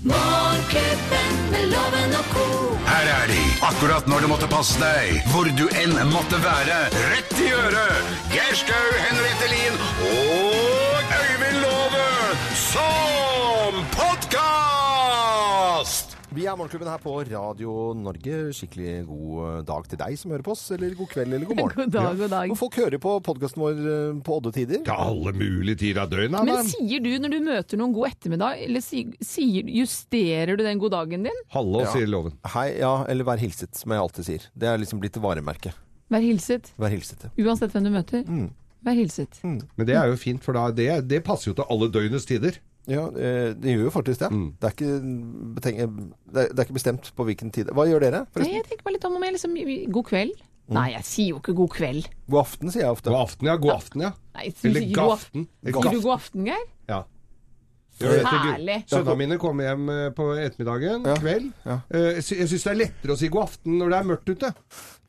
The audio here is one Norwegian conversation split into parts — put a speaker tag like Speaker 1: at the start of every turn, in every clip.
Speaker 1: Morgenklubben med loven og ko.
Speaker 2: Her er de, akkurat når du måtte passe deg, hvor du enn måtte være. Rett i øret! Geir Skau, Henriette Lien og Øyvind Låve som podkast!
Speaker 3: Vi er Morgenklubben her på Radio Norge. Skikkelig god dag til deg som hører på oss, eller god kveld eller god morgen.
Speaker 4: God dag, god dag.
Speaker 3: Og folk hører på podkasten vår eh, på oddetider.
Speaker 5: til alle mulige tider av døgnet.
Speaker 4: Men
Speaker 5: da.
Speaker 4: sier du når du møter noen god ettermiddag, eller si, sier, justerer du den god dagen din?
Speaker 5: Hallo, sier loven.
Speaker 3: Hei, ja, eller vær hilset, som jeg alltid sier. Det er liksom blitt varemerket.
Speaker 4: Vær hilset.
Speaker 3: Vær hilset. ja.
Speaker 4: Uansett hvem du møter. Vær hilset.
Speaker 5: Men det er jo fint, for da, det, det passer jo til alle døgnets tider.
Speaker 3: Ja, eh, det gjør jo faktisk det. Det, er ikke beteng- det, er, det er ikke bestemt på hvilken tid. Hva gjør dere,
Speaker 4: Nei,
Speaker 3: forresten?
Speaker 4: jeg tenker meg litt om om jeg liksom God kveld? Nei, jeg sier jo ikke god kveld.
Speaker 3: God aften, sier jeg ofte.
Speaker 5: God aften, ja. God aften, ja.
Speaker 4: Nei, sier
Speaker 5: Eller
Speaker 4: du ikke god
Speaker 5: gaften. Eh,
Speaker 4: Sier du
Speaker 5: gaft-
Speaker 4: god aften, Geir?
Speaker 5: Ja. Gjør det til gud.
Speaker 4: Herlig.
Speaker 5: Sønnene mine kommer hjem eh, på ettermiddagen,
Speaker 3: Ja.
Speaker 5: kveld.
Speaker 3: Ja.
Speaker 5: Eh, Jeg sy- jeg syns det er lettere å si god aften når det er mørkt ute.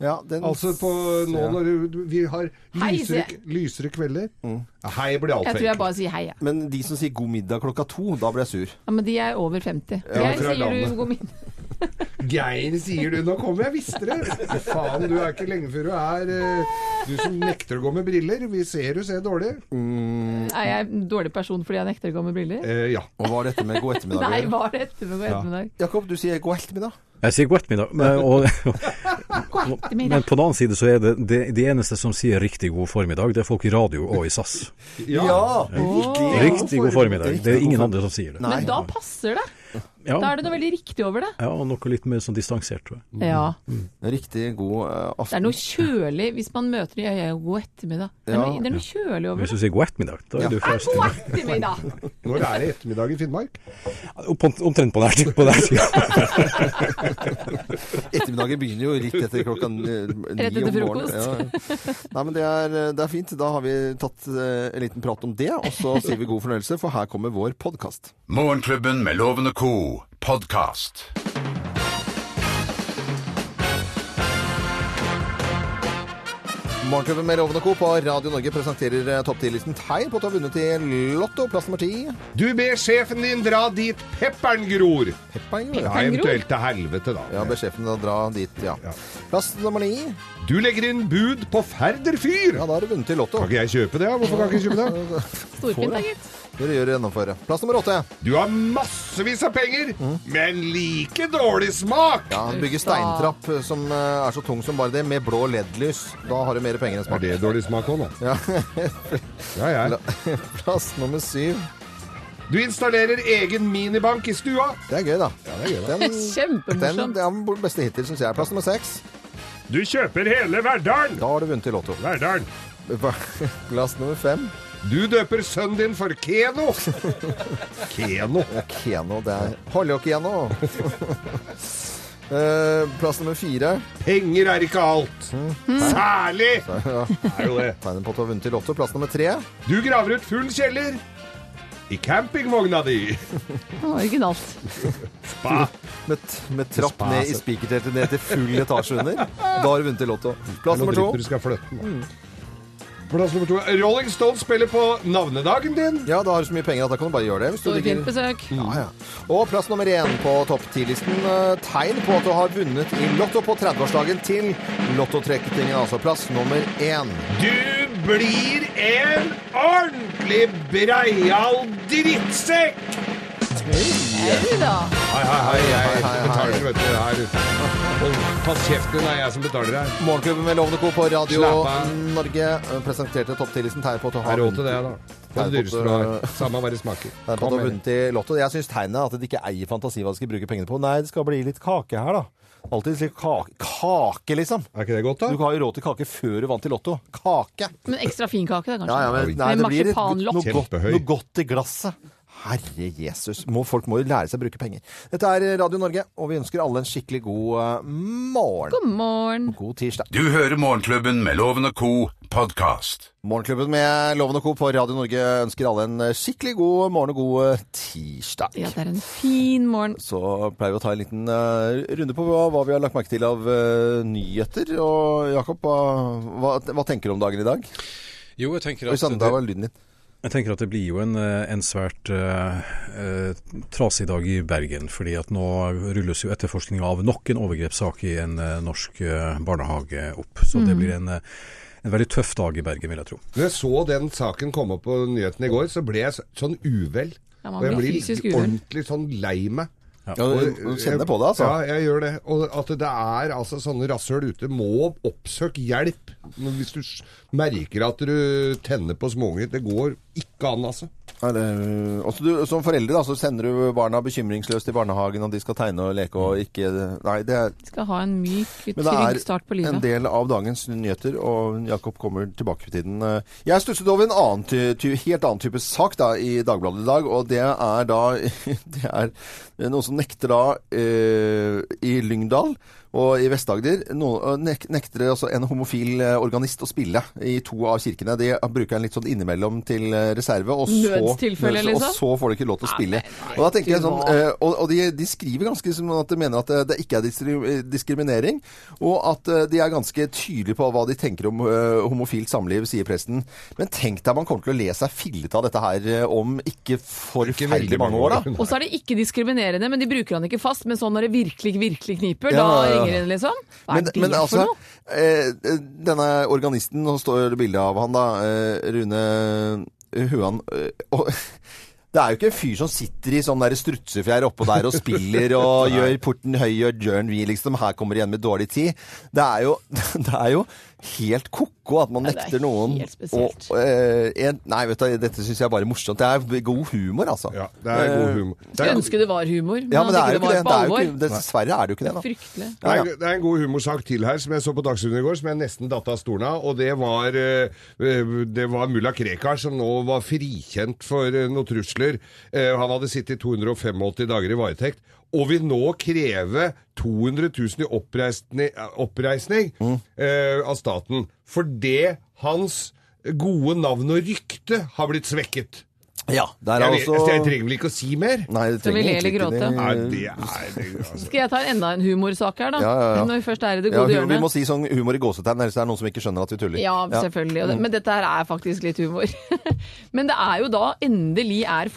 Speaker 3: Ja, den-
Speaker 5: Altså på nå
Speaker 3: Ja.
Speaker 5: når du- vi har
Speaker 4: Hei,
Speaker 5: lysere,
Speaker 4: sier-
Speaker 5: lysere kvelder.
Speaker 3: Mm.
Speaker 5: Ja, Hei blir
Speaker 4: Jeg
Speaker 5: altfor
Speaker 4: tror jeg
Speaker 5: enkelt.
Speaker 4: bare sier hei, jeg. Ja.
Speaker 3: Men de som sier god middag klokka to, da blir jeg sur.
Speaker 4: men de er over 50.
Speaker 5: men
Speaker 4: jeg
Speaker 5: fra
Speaker 4: sier
Speaker 5: landet.
Speaker 4: du god middag.
Speaker 5: Geir, sier du. Nå kommer jeg, visste det. Fy Faen, du er ikke lenge før du er eh, Du som nekter å gå med briller. Vi ser du ser dårlig.
Speaker 3: Mm.
Speaker 4: Er jeg en dårlig person fordi jeg nekter å gå med briller?
Speaker 5: Eh, ja.
Speaker 3: Og hva er dette med god ettermiddag? å
Speaker 4: Nei,
Speaker 3: gjøre?
Speaker 4: hva er dette med god ettermiddag?
Speaker 3: Jakob, du sier god ettermiddag.
Speaker 6: Jeg sier god ettermiddag, men, og,
Speaker 4: God
Speaker 6: men
Speaker 4: ettermiddag.
Speaker 6: på den annen side så er det, det de eneste som sier riktig god formiddag, det er folk i radio og i SAS.
Speaker 3: riktig.
Speaker 6: Riktig god formiddag. Det er ingen
Speaker 3: god
Speaker 6: andre som sier det.
Speaker 4: Men da passer det.
Speaker 6: Ja,
Speaker 4: Da er det noe veldig riktig over det.
Speaker 6: ja og noe litt mer sånn distansert, tror
Speaker 3: Mm.
Speaker 6: jeg.
Speaker 4: Ja.
Speaker 3: Riktig god eh,
Speaker 4: Det er
Speaker 3: aften.
Speaker 4: noe kjølig hvis man møter de, ja, ja, god ettermiddag. Det er
Speaker 3: Ja.
Speaker 4: noe, det er noe kjølig over
Speaker 6: Hvis
Speaker 4: det.
Speaker 6: du sier god ettermiddag, da er du
Speaker 4: Ja,
Speaker 6: først.
Speaker 4: god ettermiddag!
Speaker 5: Når er det ettermiddag i Finnmark?
Speaker 6: Opp- Omtrent på den på den tida.
Speaker 3: Ettermiddagen begynner jo litt etter klokka n- ni
Speaker 4: Rett etter
Speaker 3: om morgenen.
Speaker 4: frokost.
Speaker 3: Ja. Nei, men det er, eh, det er fint. Da har vi tatt eh, en liten prat om det, og så sier vi god fornøyelse, for her kommer vår podkast.
Speaker 2: Morgenklubben med Loven og Co. podkast.
Speaker 3: Morgenklubben med Loven og Co. på Radio Norge presenterer eh, topp 10-listen tegn på at du har vunnet i Lotto, plass nummer ti.
Speaker 5: Du ber sjefen din dra dit pepperen gror.
Speaker 3: Peppa, ja.
Speaker 5: Ja,
Speaker 4: gror?
Speaker 5: eventuelt til helvete, da.
Speaker 3: Ja, ber sjefen da dra dit, ja. Plass nummer ni.
Speaker 5: Du legger inn bud på Færder fyr.
Speaker 3: Ja, da har du vunnet i Lotto.
Speaker 5: Kan ikke jeg kjøpe det? ja? Hvorfor kan jeg ikke kjøpe det?
Speaker 4: Storfint da, gitt.
Speaker 3: Dere gjør å gjennomføre. Plass nummer åtte.
Speaker 5: Du har massevis av penger, men like dårlig smak.
Speaker 3: Ja, han bygger steintrapp eh, som eh, er så tung som bare det, med blå LED-lys. Da har du mer penger enn
Speaker 5: Er
Speaker 3: smak.
Speaker 5: det dårlig smak òg, nå?
Speaker 3: Ja.
Speaker 5: Ja, jeg.
Speaker 3: Plass nummer syv.
Speaker 5: Du installerer egen minibank i stua.
Speaker 3: Det er gøy, da. Den, den,
Speaker 4: Kjempemorsomt.
Speaker 3: det er den beste hittil, syns jeg. Plass nummer seks.
Speaker 5: Du kjøper hele Verdalen.
Speaker 3: Da har du vunnet i Lotto.
Speaker 5: Verdalen.
Speaker 3: Plass nummer fem.
Speaker 5: Du døper sønnen din for Keno. Keno.
Speaker 3: Keno, det er Hollyhockey-Keno. Eh, Plass nummer fire.
Speaker 5: Penger er ikke alt.
Speaker 3: Mm.
Speaker 5: Særlig! Er jo det.
Speaker 3: Tegnet på at du har vunnet i Lotto. Plass nummer tre.
Speaker 5: Du graver ut full kjeller i campingvogna di.
Speaker 4: Originalt.
Speaker 3: Mm.
Speaker 5: Spa.
Speaker 3: Med, t- med trapp ned i spikerteltet ned til full etasje under. Da har du vunnet i Lotto. Plass
Speaker 5: Nå
Speaker 3: nummer
Speaker 5: driter
Speaker 3: to.
Speaker 5: du skal flytte nå. Mm. Plass nummer to. Rolling Stones spiller på navnedagen din.
Speaker 3: Ja, da har du så mye penger at da kan du bare gjøre det. Hvis du ligger
Speaker 4: Storfint besøk.
Speaker 3: Ja, ja. Og plass nummer én på topp 10-listen. eh, Tegn på at du har vunnet i Lotto på 30-årsdagen til Lottotrekkingen, altså plass nummer én.
Speaker 5: Du blir en ordentlig breial drittsekk!
Speaker 4: Hei da.
Speaker 5: Hei, hei, hei.
Speaker 3: Hei,
Speaker 5: Jeg
Speaker 3: hei, hei.
Speaker 5: betaler, vet du. Her. Hold fast kjeften din, det er jeg som betaler her.
Speaker 3: Morgenklubben med Lovende Co. på Radio
Speaker 5: Slapp av.
Speaker 3: Norge eh, presenterte topp 10-listen tegn på at du
Speaker 5: Jeg
Speaker 3: har
Speaker 5: har råd til det,
Speaker 3: vunnet.
Speaker 5: da. På det
Speaker 3: Nei,
Speaker 5: dyreste
Speaker 3: på-
Speaker 5: du har. Samme hva det smaker.
Speaker 3: Tegn på at du øh, har vunnet i Lotto. Jeg syns tegnet er at de ikke eier fantasi hva de skal bruke pengene på. Nei, det skal bli litt kake her, da. Alltid litt kake, kake, liksom.
Speaker 5: Er ikke det
Speaker 3: Du
Speaker 5: godt, da?
Speaker 3: har jo råd til kake før du vant i Lotto. Kake.
Speaker 4: Men ekstra fin kake, da,
Speaker 3: Ja,
Speaker 4: kanskje.
Speaker 3: ja, men,
Speaker 5: Oi.
Speaker 3: nei,
Speaker 4: Med
Speaker 3: det blir et-
Speaker 4: marsipanlopp.
Speaker 3: noe godt,
Speaker 5: Kjempehøy.
Speaker 3: noe godt i glasset. Herre Jesus, må, folk må jo lære seg å bruke penger. Dette er Radio Norge, og vi ønsker alle en skikkelig god eh, morgen.
Speaker 4: God morgen.
Speaker 3: God tirsdag.
Speaker 2: Du hører Morgenklubben med Loven og Co. podkast.
Speaker 3: Morgenklubben med Loven og Co. på Radio Norge ønsker alle en eh, skikkelig god morgen og god eh, tirsdag.
Speaker 4: Ja, det er en fin morgen.
Speaker 3: Så pleier vi å ta en liten eh, runde på hva, hva vi har lagt merke til av eh, nyheter. Og Jakob, hva, hva, hva tenker du om dagen i dag?
Speaker 6: Jo, jeg tenker
Speaker 3: Oi sann, der var lyden din.
Speaker 6: Jeg tenker at det blir jo en, eh, en svært eh, eh, trasig dag i Bergen. fordi at nå rulles jo etterforskninga av nok en overgrepssak i en eh, norsk eh, barnehage opp. Så
Speaker 4: Mm.
Speaker 6: det blir en, eh, en veldig tøff dag i Bergen, vil jeg tro.
Speaker 5: Når jeg så den saken komme opp på nyhetene i går, så ble jeg så- sånn uvel.
Speaker 4: Ja, man
Speaker 5: og jeg
Speaker 4: blir
Speaker 5: blir
Speaker 4: fysisk uvel.
Speaker 5: ordentlig sånn lei meg.
Speaker 3: Ja, du du kjenner på det, altså.
Speaker 5: Ja, jeg gjør det. Og at det er altså sånne rasshøl ute. Må oppsøke hjelp Men hvis du s- merker at du tenner på småunger. Det går ikke an, altså.
Speaker 3: Er det- også du, som foreldre da, så sender du barna bekymringsløst til barnehagen, og de skal tegne og leke og ikke Nei, det er,
Speaker 4: Skal ha en myk,
Speaker 3: men det
Speaker 4: trygg start på
Speaker 3: er
Speaker 4: livet.
Speaker 3: en del av dagens nyheter, og Jakob kommer tilbake til tiden. Jeg stusset over en annen ty ty helt annen type sak da, i Dagbladet i dag, og det er da Det er noen som nekter da eh, i Lyngdal og i Vest-Agder no- nek nekter altså en homofil eh, organist å spille i to av kirkene. Det bruker han litt sånn innimellom til eh, reserve, og så,
Speaker 4: Nødstilfelle,
Speaker 3: og
Speaker 4: liksom?
Speaker 3: så får de ikke lov til å spille. Og da tenker jeg sånn, eh, og, og de, de skriver ganske som at de mener at det, det ikke er distri- eh, diskriminering, og at eh, de er ganske tydelige på hva de tenker om eh, homofilt samliv, sier presten. Men tenk deg man kommer til å le seg fillete av dette her eh, om ikke
Speaker 5: veldig
Speaker 3: forferdelig
Speaker 5: mange
Speaker 3: mange år,
Speaker 5: år.
Speaker 3: da.
Speaker 4: Og så er det ikke diskriminerende, men de bruker han ikke fast. Men sånn når det virkelig, virkelig kniper,
Speaker 3: Ja, ja,
Speaker 4: da
Speaker 3: ja.
Speaker 4: ringer den, liksom. Hva er
Speaker 3: Men,
Speaker 4: det
Speaker 3: men altså,
Speaker 4: for noe?
Speaker 3: eh, denne organisten, nå står det bilde av han da, eh, Rune Huan eh, og, Det er jo ikke en fyr som sitter i sånn der strutsefjær oppå der og spiller og gjør porten høy og gjør vi liksom Her kommer igjen med dårlig tid. Det er jo, det er jo helt ko-ko at man
Speaker 4: Ja, det er
Speaker 3: nekter noen
Speaker 4: helt spesielt.
Speaker 3: å- eh, en, Nei, vet du, dette syns jeg er bare morsomt. Det er god humor, altså.
Speaker 5: Ja, det er god humor. Det
Speaker 4: Skulle
Speaker 5: er,
Speaker 4: ønske det var humor, men,
Speaker 3: Ja, men det er jo ikke det.
Speaker 4: det var
Speaker 3: det, er
Speaker 4: på
Speaker 3: jo
Speaker 4: alvor.
Speaker 3: ikke, dessverre er det jo ikke det, da.
Speaker 4: Fryktelig.
Speaker 5: det, er, det er en god humorsak til her som jeg så på Dagsrevyen i går, som jeg nesten datt av stolen av. Og det var, eh, eh, det var mulla Krekar som nå var frikjent for eh, noen trusler. Eh, Han hadde sittet 285 dager i varetekt. Og vil nå kreve 200 000 i oppreisning, oppreisning eh, av staten. Fordi hans gode navn og rykte har blitt svekket.
Speaker 3: Ja, der er altså- Mm.
Speaker 5: Jeg, vet-
Speaker 3: også
Speaker 5: jeg trenger vel ikke å si mer?
Speaker 3: Nei, det
Speaker 4: Skal vi le
Speaker 3: trenger
Speaker 4: eller
Speaker 3: egentlig ikke
Speaker 4: gråte?
Speaker 5: Nei, det er det, altså.
Speaker 4: Skal jeg ta enda en humorsak her, da?
Speaker 3: Ja, ja, ja.
Speaker 4: Når vi først er i det
Speaker 3: Ja,
Speaker 4: gode
Speaker 3: hu- vi må
Speaker 4: hjørnet.
Speaker 3: si sånn humor i gåsetegn, ellers er det noen som ikke skjønner at vi tuller.
Speaker 4: Ja, selvfølgelig. Og det- Men dette her er faktisk litt humor. Men det er jo da endelig er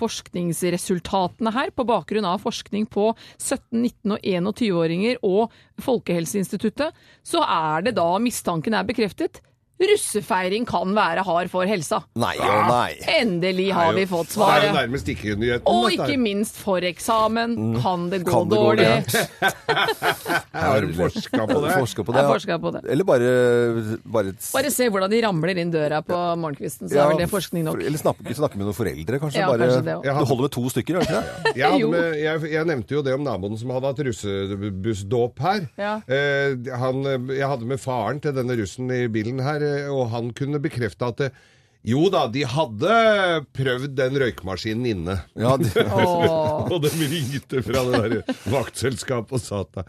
Speaker 4: forskningsresultatene her, på bakgrunn av forskning på 17-, 19- og 21-åringer og Folkehelseinstituttet, så er det da mistanken er bekreftet. Russefeiring kan være hard for helsa.
Speaker 3: Nei
Speaker 5: Ah.
Speaker 3: og nei.
Speaker 4: Endelig har vi fått
Speaker 5: Det er jo
Speaker 4: svaret.
Speaker 5: nærmest ikke nyheten.
Speaker 4: Og
Speaker 5: dette her.
Speaker 4: ikke minst for eksamen. Kan det gå
Speaker 3: Mm. Kan det gå
Speaker 4: dårlig?
Speaker 3: gærent?
Speaker 5: Har du forska på
Speaker 3: Har du
Speaker 5: det?
Speaker 3: forsket på
Speaker 4: Jeg har
Speaker 3: det? ja?
Speaker 4: forska på det.
Speaker 3: Eller bare, bare,
Speaker 4: Bare se hvordan de ramler inn døra på morgenkvisten, så
Speaker 3: ja,
Speaker 4: er vel det forskning nok.
Speaker 3: for- Eller snakke, snakke med noen foreldre, kanskje.
Speaker 4: Ja,
Speaker 3: bare,
Speaker 4: kanskje det også.
Speaker 3: det, holder med to stykker, gjør det ikke det?
Speaker 5: Jeg, hadde
Speaker 4: Eh, Jo.
Speaker 5: med, eh, jeg, jeg nevnte jo det om naboen som hadde hatt russebussdåp her.
Speaker 4: Ja.
Speaker 5: Eh, han, jeg hadde med faren til denne russen i bilen her, eh, og han kunne bekrefte at eh, jo da, de hadde prøvd den røykmaskinen inne.
Speaker 3: Ja, det-
Speaker 4: Åh.
Speaker 5: Og de ringte fra det der vaktselskapet og sa at det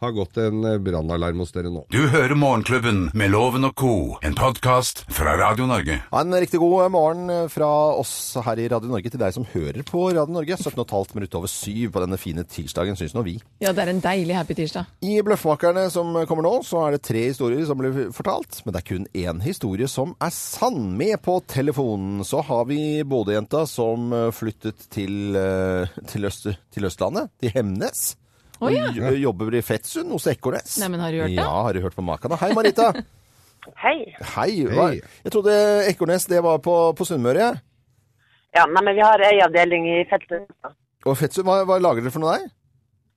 Speaker 5: har gått en eh, brannalarm hos dere nå.
Speaker 2: Du hører Morgenklubben med Loven og Co., en podkast fra Radio Norge.
Speaker 3: Ha en riktig god morgen fra oss her i Radio Norge til deg som hører på Radio Norge. 17,5 minutter over syv på denne fine tirsdagen, syns nå vi.
Speaker 4: Ja, det er en deilig happy tirsdag.
Speaker 3: I Bløffmakerne som kommer nå, så er det tre historier som blir fortalt, men det er kun én historie som er sann. Med på telefonen så har vi Bodø-jenta som eh, flyttet til, eh, til, Øst, til Østlandet, til Hemnes.
Speaker 4: Å ja.
Speaker 3: Jo- Jobber i Fettsund hos Ekornes.
Speaker 4: Nei, men har du hørt det?
Speaker 3: Ja, har du hørt på maken? da? Hei, Marita.
Speaker 7: Hei.
Speaker 3: Hei. Hva?
Speaker 5: Hei.
Speaker 3: Jeg trodde Ekornes det var på, på Sunnmøre.
Speaker 7: Ja, nei, men vi har ei avdeling i feltet.
Speaker 3: Og Fettsund, hva, hva lager dere for noe der?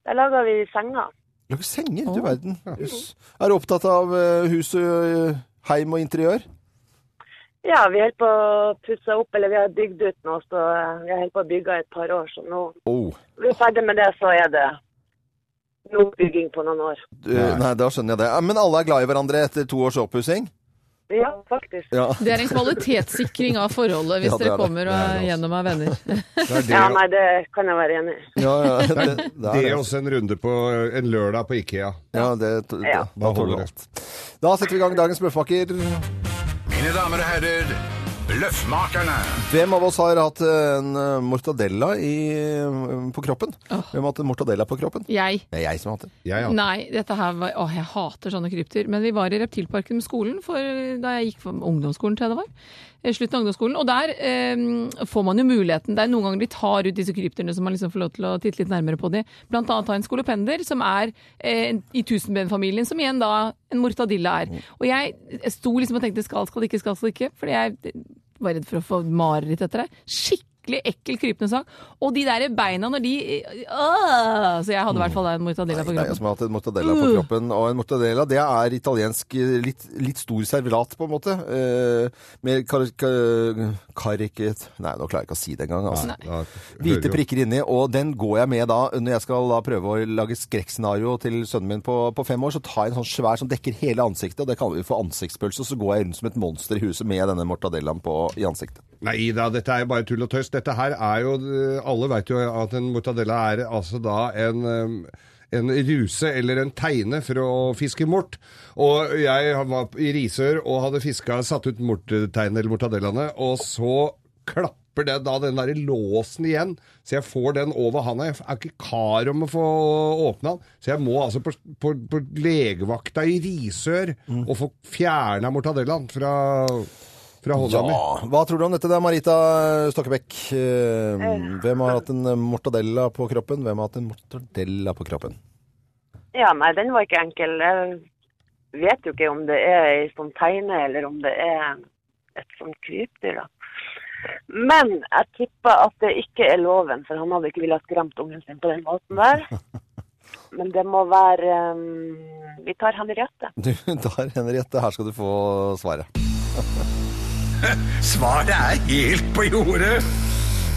Speaker 7: Der lager vi senger.
Speaker 3: Lager senger, du verden. Jøss. Er du opptatt av eh, hus og eh, heim og interiør?
Speaker 7: Ja, vi holder på å pusse opp, eller vi har bygd ut nå, så eh, vi har holdt på å bygge i et par år. Så nå
Speaker 3: Oh.
Speaker 7: når vi er ferdig med det, så er det nok bygging på noen år.
Speaker 3: Eh, Nei, da skjønner jeg det. Eh, Men alle er glad i hverandre etter to års oppussing?
Speaker 7: Ja, faktisk.
Speaker 3: Ja.
Speaker 4: Det er en kvalitetssikring av forholdet hvis
Speaker 3: Ja,
Speaker 4: dere
Speaker 3: det er det. altså.
Speaker 4: kommer og er gjennom er venner.
Speaker 5: Det er det,
Speaker 7: Ja, nei, det kan jeg være enig i.
Speaker 3: Ja, ja, det, det, er
Speaker 5: det er
Speaker 3: det.
Speaker 5: også en runde på eh, en lørdag på Ikea.
Speaker 3: Ja, det, det, det,
Speaker 7: Ja.
Speaker 3: da tåler du alt. Da setter vi i gang dagens Bløffmaker.
Speaker 2: Mine damer og herrer, Løffmakerne.
Speaker 3: Hvem av oss har hatt en eh, mortadella i, eh, på kroppen? Hvem har hatt en mortadella på kroppen?
Speaker 4: Jeg.
Speaker 3: Det er jeg som har hatt det.
Speaker 5: Jeg, ja.
Speaker 4: Nei, dette her var Åh, jeg hater sånne krypter. Men vi var i Reptilparken med skolen for, da jeg gikk på ungdomsskolen, tror jeg det var. Eh, Slutten av ungdomsskolen. Og der eh, får man jo muligheten. Det er noen ganger de tar ut disse krypterne, så man liksom får lov til å titte litt nærmere på de. Blant annet har jeg en skolopender som er eh, i tusenbenfamilien, som igjen da en mortadilla
Speaker 5: Mm.
Speaker 4: er. Og jeg, jeg sto liksom og tenkte skal, skal det ikke, skal, skal det ikke. Fordi jeg eh, var redd for å få mareritt etter det. Skikkelig ekkel, krypende sak. Og de der beina når de eh, Åh! Så jeg hadde i hvert fall en mortadilla på
Speaker 5: altså,
Speaker 4: kroppen. Uh.
Speaker 3: Det er jeg som har hatt en mortadella på kroppen. Og en mortadella det er italiensk eh, litt, litt stor servelat, på en måte. Eh, med kar... kar kariket- Nei, nå klarer jeg ikke å si det engang. Altså.
Speaker 5: Ja, hører
Speaker 3: Hvite
Speaker 5: jo.
Speaker 3: prikker inni, og den går jeg med da når jeg skal da prøve å lage skrekkscenario til sønnen min på, på fem år. Så tar jeg en sånn svær som dekker hele ansiktet, og det kaller vi for ansiktspølse. Og så går jeg rundt som et monster i huset med denne mortadellaen på, i ansiktet.
Speaker 5: Nei da, dette er jo bare tull og tøys. Dette her er jo eh, Alle vet jo at en mortadella er altså da en um, en ruse eller en teine for å fiske mort. Og jeg var i Risør og hadde fiska, satt ut mortteine eller mortadellaene, og så klapper det da den der låsen igjen. Så jeg får den over handa. Jeg er ikke kar om å få åpna den. Så jeg må altså på, på, på legevakta i Risør og få fjerna mortadellaen fra, fra hånda
Speaker 3: Ja,
Speaker 5: mi.
Speaker 3: Hva tror du om dette da, Marita Stokkebekk? Eh, Hvem har hatt en mortadella på kroppen? Hvem har hatt en mortadella på kroppen?
Speaker 7: Ja, nei, den var ikke enkel. Jeg vet jo ikke om det er ei sånn teine, eller om det er et sånt krypdyr, da. Men jeg tipper at det ikke er loven, for han hadde ikke villet skremt ungen sin på den måten der. Men det må være eh, Vi tar Henriette.
Speaker 3: Du, der, Henriette, her skal du få svaret.
Speaker 2: Svaret er helt på jordet.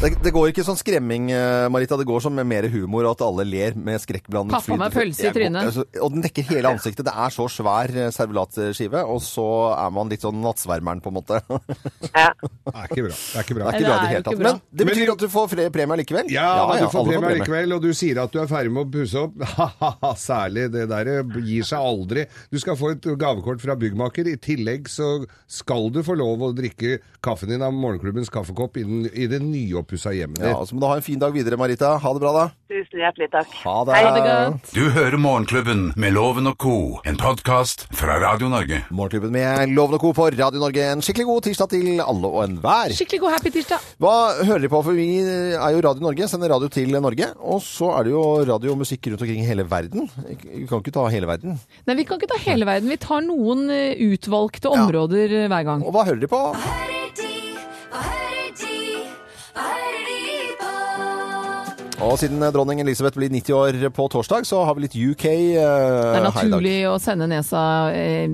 Speaker 3: Det, det går ikke sånn skremming, eh, Marita. Det går som med mer humor, og at alle ler med skrekkblandet
Speaker 4: Pappa
Speaker 3: fryd.
Speaker 4: med pølse i
Speaker 3: Jeg går-
Speaker 4: trynet.
Speaker 3: altså, og den dekker hele ansiktet. Det er så svær eh, servelatskive, og så er man litt sånn nattsvermeren, på en måte. Det
Speaker 7: Ja.
Speaker 5: Det er ikke bra. Det er
Speaker 4: Nei, det
Speaker 3: er ikke
Speaker 5: ikke bra.
Speaker 3: bra i
Speaker 4: er
Speaker 3: det
Speaker 4: jo
Speaker 3: hele
Speaker 4: ikke
Speaker 3: tatt.
Speaker 4: bra.
Speaker 3: Men det
Speaker 5: Men-
Speaker 3: betyr at du får fre- premie likevel.
Speaker 5: Ja, men du får
Speaker 3: alle
Speaker 5: premie likevel, og du sier at du er ferdig med å pusse opp. Hahaha, Særlig, det der eh, gir seg aldri. Du skal få et gavekort fra byggmaker. I tillegg så skal du få lov å drikke kaffen din av morgenklubbens kaffekopp i, den, i det nyoppussa hjemmet
Speaker 3: Ja,
Speaker 5: ditt.
Speaker 3: og så må du ha en fin dag videre, Marita. Ha det bra, da.
Speaker 7: Tusen hjertelig takk.
Speaker 3: Ha det.
Speaker 7: Hei.
Speaker 4: Ha det godt.
Speaker 2: Du hører Morgenklubben med Loven og Co., en podkast fra Radio Norge.
Speaker 3: Morgenklubben med Loven og Co. på Radio Norge. En skikkelig god tirsdag til alle og enhver.
Speaker 4: Skikkelig god happy tirsdag.
Speaker 3: Hva hører de på? For vi er jo Radio Norge, sender radio til Norge. Og så er det jo radio og musikk rundt omkring i hele verden. Vi kan ikke ta hele verden.
Speaker 4: Nei, vi kan ikke ta hele verden. Vi tar noen eh, utvalgte områder eh, hver gang.
Speaker 3: Og hva hører de på?
Speaker 1: Hva hører de, hva hører de, hva hører de på?
Speaker 3: Og siden dronning Elisabeth blir 90 år på torsdag, så har vi litt UK eh,
Speaker 4: Det er
Speaker 3: her i dag.
Speaker 4: naturlig å sende nesa eh,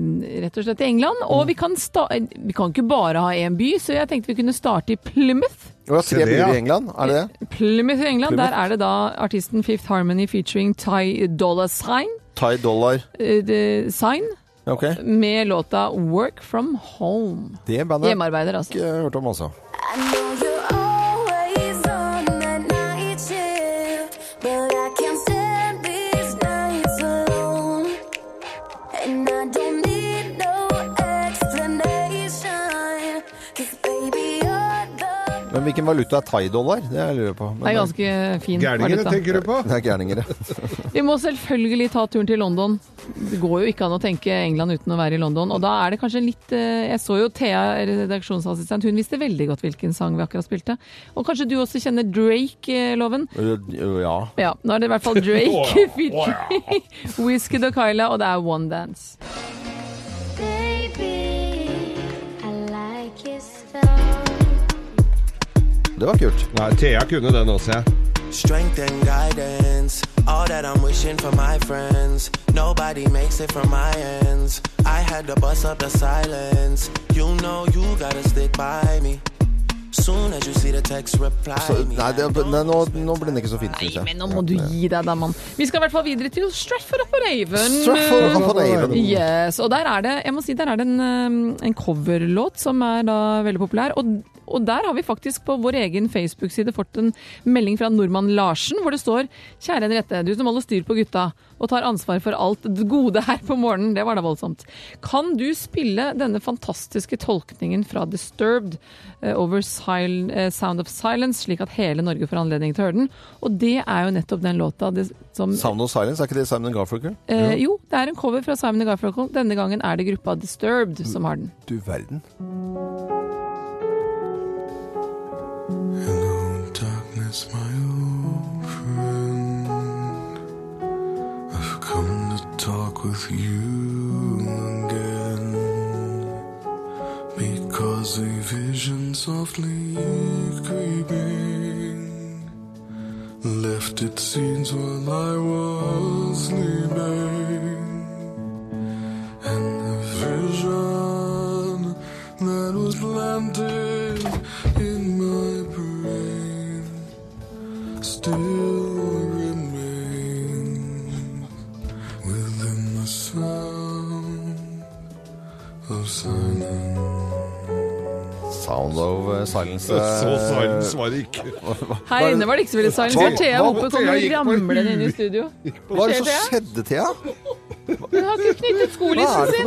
Speaker 4: rett og slett til England. Og vi kan, sta eh, vi kan ikke bare ha én by, så jeg tenkte vi kunne starte i Plymouth.
Speaker 3: Og vi har
Speaker 5: Se
Speaker 3: tre
Speaker 5: det, ja.
Speaker 3: byer i England, er det det?
Speaker 4: Plymouth i England,
Speaker 3: Plymouth.
Speaker 4: Der er det da artisten Fifth Harmony featuring Ty Dolla Sign,
Speaker 3: Thai dollar.
Speaker 4: eh, de- sign
Speaker 3: Ok,
Speaker 4: med låta 'Work From Home'.
Speaker 3: det bandet har
Speaker 4: Hjemmearbeider, altså.
Speaker 3: jeg ikke hørt om, altså.
Speaker 1: I know you're always on the night shift, but I can't stand these nights alone. And I don't need no explanation, 'cause baby, you're the
Speaker 3: Men hvilken valuta er thai dollar? Det jeg lurer jeg på. Men
Speaker 4: Det er ganske fin
Speaker 5: Gærningene
Speaker 4: valuta.
Speaker 5: tenker du på?
Speaker 3: det er gærninger, det.
Speaker 4: Vi må selvfølgelig ta turen til London. Det går jo ikke an å tenke England uten å være i London. Og da er det kanskje litt eh, Jeg så jo Thea, redaksjonsassistent, hun visste veldig godt hvilken sang vi akkurat spilte. Og kanskje du også kjenner Drake-loven?
Speaker 3: Ja.
Speaker 4: Ja, nå er det i hvert fall Drake featuring Whisky og Kyla, og det er One Dance.
Speaker 1: baby. I like your style.
Speaker 3: Det var kult.
Speaker 5: Nei, Thea kunne den også, jeg.
Speaker 8: Strength and guidance, all that I'm wishing for my friends. Nobody makes it from my ends. I had to bust up the silence. You know you gotta stick by me. Soon as you see the text, reply
Speaker 3: Så,
Speaker 8: me.
Speaker 3: nei, det, nei nå, nå ble den ikke så fin, syns jeg.
Speaker 4: Men nå må du gi deg, da, mann. Vi skal i hvert fall videre til Stratford upon Avon.
Speaker 3: Strafford upon Avon.
Speaker 4: Yes, og der er det, jeg må si, der er det en, um, en coverlåt som er da veldig populær. Og, Og der har vi faktisk på vår egen Facebook-side fått en melding fra nordmann Larsen, hvor det står Kjære Henriette, du som holder styr på gutta og tar ansvar for alt det gode her på morgenen. Det var da voldsomt. Kan du spille denne fantastiske tolkningen fra Disturbed eh, over Sil eh, Sound of Silence, slik at hele Norge får anledning til å høre den? Og det er jo nettopp den låta det, som
Speaker 3: Sound of Silence, er ikke det Simon Garfunkel?
Speaker 4: Eh, jo, det er en cover fra Simon Garfunkel. Denne gangen er det gruppa Disturbed som har den.
Speaker 3: Du verden.
Speaker 8: Hello, darkness, my old friend. I've come to talk with you again because a vision softly creeping left its scenes while I was sleeping. And the vision that was planted in my brain still remains within the sound of silence.
Speaker 3: Sound of eh, Silence.
Speaker 5: Så
Speaker 3: eh,
Speaker 5: silence var det ikke.
Speaker 4: Her inne var det ikke så veldig silent.
Speaker 3: Hva-
Speaker 4: Thea
Speaker 3: hva-
Speaker 4: Hoppe kommer
Speaker 5: Thea
Speaker 4: og
Speaker 5: gikk på
Speaker 4: ramler
Speaker 5: huet.
Speaker 4: inn i studio.
Speaker 3: Hva er det
Speaker 4: Skjer
Speaker 3: som
Speaker 4: det?
Speaker 3: skjedde, Thea?
Speaker 4: Hun har ikke knyttet
Speaker 3: Hva er
Speaker 4: skolissen
Speaker 3: det for
Speaker 4: sin!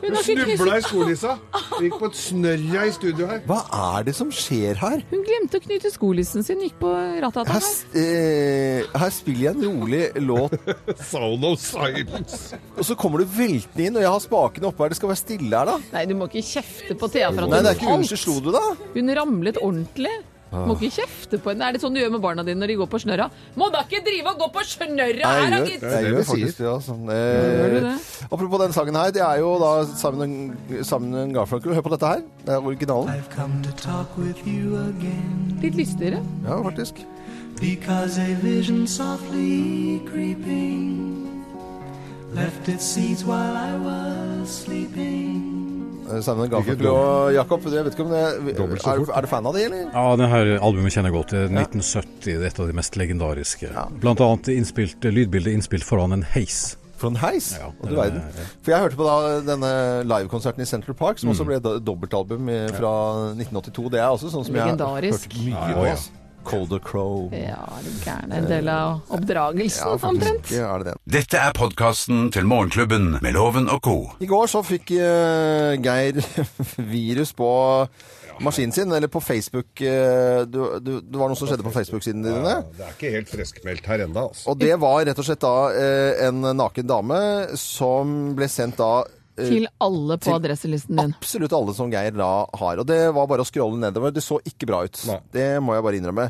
Speaker 4: Hun har ikke
Speaker 5: Snubla i
Speaker 4: knyttet
Speaker 5: skolissa. Gikk på et snørra i studio her.
Speaker 3: Hva er det som skjer her?
Speaker 4: Hun glemte å knytte skolissen sin, gikk på ratata
Speaker 3: Her,
Speaker 4: her.
Speaker 3: s- eh, her spiller jeg en rolig låt,
Speaker 5: Sound of silence.
Speaker 3: og så kommer du veltende inn, og jeg har spakene oppe her. Det skal være stille her, da.
Speaker 4: Nei, du må ikke kjefte på Thea for at
Speaker 3: Nei, det er
Speaker 4: hun
Speaker 3: ikke
Speaker 4: falt.
Speaker 3: unnskyld, slo du, da?
Speaker 4: Hun ramlet ordentlig. Må ikke kjefte på henne. Er det sånn du gjør med barna dine når de går på snørra? Må da ikke drive og gå på snørra her, da,
Speaker 3: jeg
Speaker 4: gitt!
Speaker 3: gjør,
Speaker 5: Det
Speaker 3: jeg
Speaker 5: er
Speaker 3: gjør
Speaker 5: det vi
Speaker 3: faktisk det. Altså.
Speaker 4: Gjør du
Speaker 3: Eh,
Speaker 4: det?
Speaker 3: apropos denne sangen her, det er jo da Simon, Simon Garfunkel. Hør på dette her. Det er originalen.
Speaker 8: I've come to talk with you again
Speaker 4: Litt lystigere.
Speaker 3: Ja, faktisk.
Speaker 8: because a vision softly creeping left its seeds while I was sleeping.
Speaker 3: Eh, Simon Garfunkel og Jakob, jeg vet ikke om det er,
Speaker 5: Dobbelt så
Speaker 3: er,
Speaker 5: fort.
Speaker 3: du fan av de, eller?
Speaker 6: Ja, det her albumet kjenner jeg godt. Det er 1970, det er et av de mest legendariske. Blant annet innspilt, lydbildet innspilt foran en heis.
Speaker 3: For en heis!
Speaker 6: Ja,
Speaker 3: Og du
Speaker 6: det-
Speaker 3: verden. For jeg hørte på da denne livekonserten i Central Park, som også ble da- dobbeltalbum i- fra 1982. Det er også sånn som jeg har
Speaker 4: Legendarisk.
Speaker 3: hørt mye
Speaker 6: Ja,
Speaker 3: på.
Speaker 6: ja.
Speaker 3: ass. Colder Crow.
Speaker 4: Ja, er du gæren. En del av oppdragelsen, omtrent.
Speaker 3: Ja, er det det.
Speaker 2: Dette er podkasten til Morgenklubben med Loven og co.
Speaker 3: I går så fikk eh, Geir virus på maskinen sin, eller på Facebook. eh, du, du, det var noe som skjedde på Facebook-siden dine.
Speaker 5: Ja, det er ikke helt friskmeldt her ennå, altså.
Speaker 3: Og det var rett og slett da eh, en naken dame som ble sendt da eh,
Speaker 4: Til alle på adresselisten din.
Speaker 3: absolutt alle som Geir da har. Og det var bare å scrolle nedover. Det så ikke bra ut.
Speaker 5: Nei.
Speaker 3: Det må jeg bare innrømme.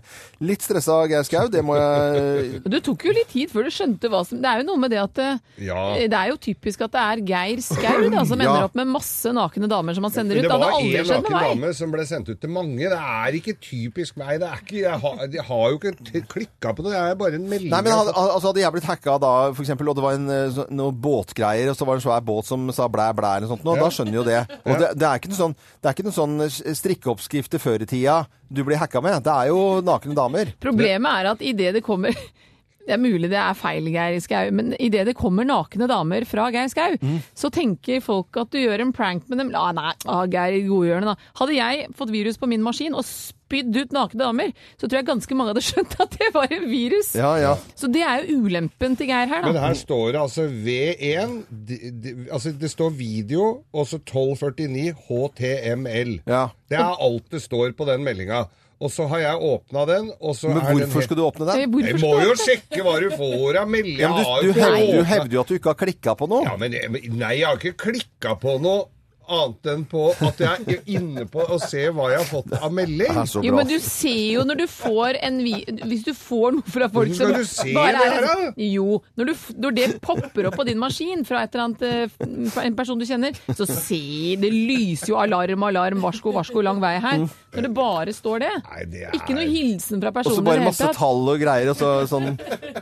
Speaker 3: Litt stressa Geir Skau, det må jeg
Speaker 4: Du tok jo litt tid før du skjønte hva som Det er jo noe med det at det,
Speaker 5: Ja.
Speaker 4: det er jo typisk at det er Geir Skau da, som
Speaker 3: Ja.
Speaker 4: ender opp med masse nakne damer som han sender ut.
Speaker 5: Det
Speaker 4: Det hadde
Speaker 5: var
Speaker 4: aldri
Speaker 5: en
Speaker 4: skjedd
Speaker 5: naken
Speaker 4: med meg.
Speaker 5: dame som ble sendt ut til mange. Det er ikke typisk meg. Det er ikke, jeg, har, jeg har jo ikke klikka på det. Det er bare en melding.
Speaker 3: Nei, men hadde, altså, hadde jeg blitt hacka da, for eksempel, og det var en, eh, så- noe båtgreier, og så var det en svær båt som sa blæ, blæ, eller noe sånt, nå, da skjønner jo det. Og det, det er ikke noe sånn, det er ikke noe sånn eh, strikkeoppskrifter før i tida du blir hacka med. Det er jo nakne damer.
Speaker 4: Problemet er at idet det kommer det er mulig det er feil, Geir Skau, men idet det kommer nakne damer fra Geir Skau,
Speaker 5: Mm.
Speaker 4: så tenker folk at du gjør en prank med dem. Ah, nei, ah, Geir Godhjørne, da. Hadde jeg fått virus på min maskin og spydd ut nakne damer, så tror jeg ganske mange hadde skjønt at det var en virus.
Speaker 3: Ja, ja.
Speaker 4: Så det er jo ulempen til Geir her, da.
Speaker 5: Men her står det altså V1 de, de, altså Det står video, og så 1249 HTML.
Speaker 3: Ja.
Speaker 5: Det er alt det står på den meldinga. Og så har jeg åpna den, og så
Speaker 3: Men
Speaker 5: er den
Speaker 3: hvorfor
Speaker 5: helt-
Speaker 3: skal du åpne den?
Speaker 4: Hvorfor
Speaker 5: eh, Jeg
Speaker 4: skal
Speaker 5: må
Speaker 4: han
Speaker 5: jo
Speaker 4: det?
Speaker 5: sjekke hva du får av meldinga.
Speaker 3: Ja, men du, du, hevder, du hevder jo at du ikke har klikka på noe.
Speaker 5: Ja, men jeg- men- nei, jeg har ikke klikka på noe annet enn på at jeg er inne på å se hva jeg har fått av melding.
Speaker 3: Det er så
Speaker 4: Jo,
Speaker 3: bra.
Speaker 4: men du ser jo når du får en vi Hvis du får noe fra folk
Speaker 5: Hvordan
Speaker 4: som
Speaker 5: skal du se det
Speaker 4: er
Speaker 5: her, da?
Speaker 4: Jo, når, du, f- når det popper opp på din maskin fra et eller annet eh, f- en person du kjenner, så se Det lyser jo alarm, alarm, varsko, varsko, lang vei her. Når det bare står det.
Speaker 5: Nei, det er-
Speaker 4: Ikke noe hilsen fra
Speaker 3: Og
Speaker 4: personen
Speaker 3: så
Speaker 4: i
Speaker 3: bare
Speaker 4: det hele
Speaker 3: masse
Speaker 4: tatt.
Speaker 3: tall og greier, og så sånn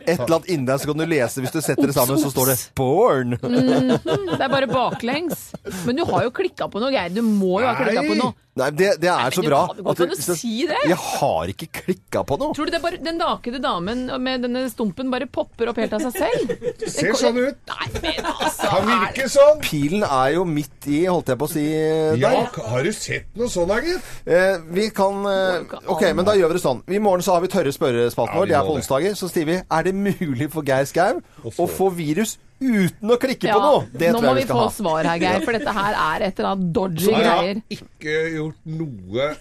Speaker 3: Et eller annet inni deg, så kan du lese. Hvis du setter det sammen, så står det 'born'.
Speaker 4: Mm. Det er bare baklengs. Men du har jo klikka på noe, Geir. Du må jo ha klikka
Speaker 5: Nei.
Speaker 4: på noe.
Speaker 3: Nei, det, det er så
Speaker 4: men
Speaker 3: bra.
Speaker 4: du kan- hvordan kan du
Speaker 3: hvis jeg-
Speaker 4: si det?
Speaker 3: Jeg har ikke klikka på noe.
Speaker 4: Tror du det er bare, den nakne damen med denne stumpen bare popper opp helt av seg selv?
Speaker 5: Ser sånn ut.
Speaker 4: Nei, men altså
Speaker 5: Han virker sånn.
Speaker 3: Pilen er jo midt i, holdt jeg på å si. eh,
Speaker 5: Ja,
Speaker 3: Der.
Speaker 5: har du sett noe sånn, da, gitt?
Speaker 3: Eh, vi kan eh, OK, men da gjør vi det sånn. I morgen så har vi tørre spørrespalten
Speaker 5: Ja,
Speaker 3: vår.
Speaker 5: vi
Speaker 3: Det er
Speaker 5: må
Speaker 3: på
Speaker 5: det.
Speaker 3: onsdager. Så sier vi er det mulig for Geir Skau
Speaker 5: få-
Speaker 3: å få virus uten å klikke på noe? Det
Speaker 4: nå må
Speaker 3: tror jeg
Speaker 4: vi
Speaker 3: vi
Speaker 4: få
Speaker 3: skal ha.
Speaker 4: svar her, Geir, for dette her er et eller annet dodgy
Speaker 5: Jeg har
Speaker 4: greier.
Speaker 5: ikke gjort noe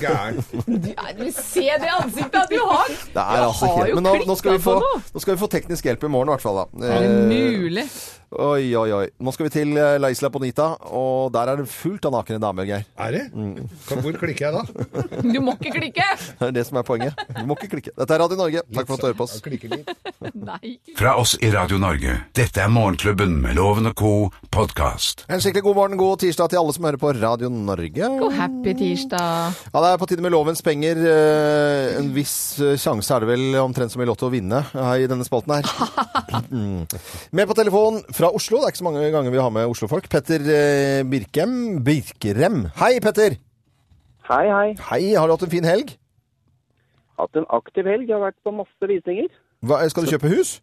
Speaker 5: gærent.
Speaker 4: Du, er- men se det ansiktet du har!
Speaker 3: Det er altså
Speaker 4: har
Speaker 3: helt
Speaker 4: jo
Speaker 3: Men nå, nå, skal vi
Speaker 4: klikket
Speaker 3: få,
Speaker 4: på noe.
Speaker 3: nå skal vi få teknisk hjelp i morgen, i hvert fall. Da.
Speaker 4: Er det
Speaker 3: Eh,
Speaker 4: mulig?
Speaker 3: oi, oi, oi. Nå skal vi til eh, La Isla Bonita, og der er det fullt av nakne damer, Geir.
Speaker 5: Er det? Kan- Hvor klikker jeg da?
Speaker 4: Du må ikke klikke!
Speaker 3: Det er det som er poenget. Du må ikke klikke. Dette er Radio Norge. Takk for at du hører på oss.
Speaker 5: Jeg klikker litt.
Speaker 4: Nei.
Speaker 2: Fra oss i Radio Norge. Dette er Morgenklubben med Loven og co. podkast.
Speaker 3: En skikkelig god morgen, god tirsdag til alle som hører på Radio Norge.
Speaker 4: Og happy tirsdag.
Speaker 3: Ja, det er på tide med lovens penger. Eh, En viss eh, sjanse er det vel omtrent som i Lotto å vinne eh, i denne spalten her. Mm. Med på telefon fra Oslo. Det er ikke så mange ganger vi har med Oslo-folk. Petter eh, Birkem. Birkerem. Hei, Petter!
Speaker 9: Hei, hei.
Speaker 3: Hei, har du hatt en fin helg?
Speaker 9: Hatt en aktiv helg. Jeg har vært på masse visninger.
Speaker 3: Hva, skal du kjøpe hus?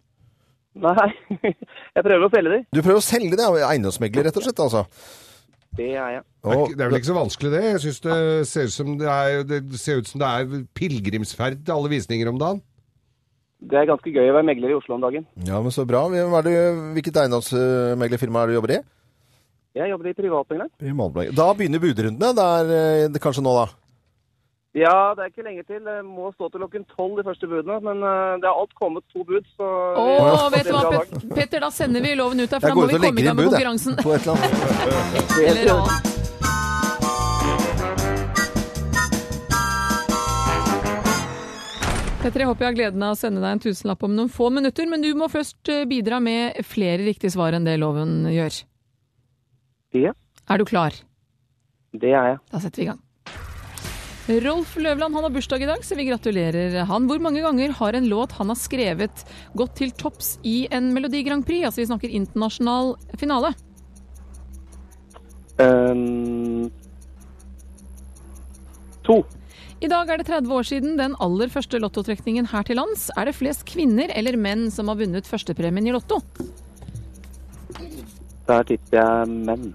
Speaker 9: Nei, jeg prøver å selge de.
Speaker 3: Du prøver å selge det, ja. eiendomsmegler rett og slett, altså.
Speaker 9: Det er jeg.
Speaker 5: Det er, ikke-
Speaker 3: Og,
Speaker 5: det er vel ikke så vanskelig, det. Jeg syns det ser ut som det er, det ser ut som det er pilegrimsferd til alle visninger om dagen.
Speaker 9: Det er ganske gøy å være megler i Oslo om dagen.
Speaker 3: ja, men så bra. Hvem er du- Hvilket eiendomsmeglerfirma er det du jobber i?
Speaker 9: Jeg jobber i privatmegler.
Speaker 3: Da begynner budrundene. Det er eh, det kanskje nå, da.
Speaker 9: Ja, det er ikke lenge til. Det må stå til klokken tolv de første budene. Men eh, det har alt kommet to bud, så
Speaker 4: Å,
Speaker 3: Ja.
Speaker 4: vet du hva, Pet- Petter, da sender vi loven ut her, for da
Speaker 3: Jeg
Speaker 4: må
Speaker 3: går
Speaker 4: vi
Speaker 3: ut og
Speaker 4: komme i
Speaker 3: legger
Speaker 4: gang
Speaker 3: inn
Speaker 4: med
Speaker 3: bud,
Speaker 4: konkurransen.
Speaker 3: jeg. På et eller annet.
Speaker 4: Eller annet. Petter, jeg håper jeg har gleden av å sende deg en tusenlapp om noen få minutter, men du må først eh, bidra med flere riktige svar enn det loven gjør.
Speaker 9: Ja,
Speaker 4: Er du klar?
Speaker 9: det er jeg.
Speaker 4: Da setter vi i gang. Rolf Løvland han har bursdag i dag, så vi gratulerer han. Hvor mange ganger har en låt han har skrevet gått til topps i en Melodi Grand Prix? Altså vi snakker internasjonal finale.
Speaker 9: Ehm, to.
Speaker 4: I dag er det 30 år siden den aller første lottotrekningen her til lands. Er det flest kvinner eller menn som har vunnet førstepremien i Lotto?
Speaker 9: Der tipper jeg menn.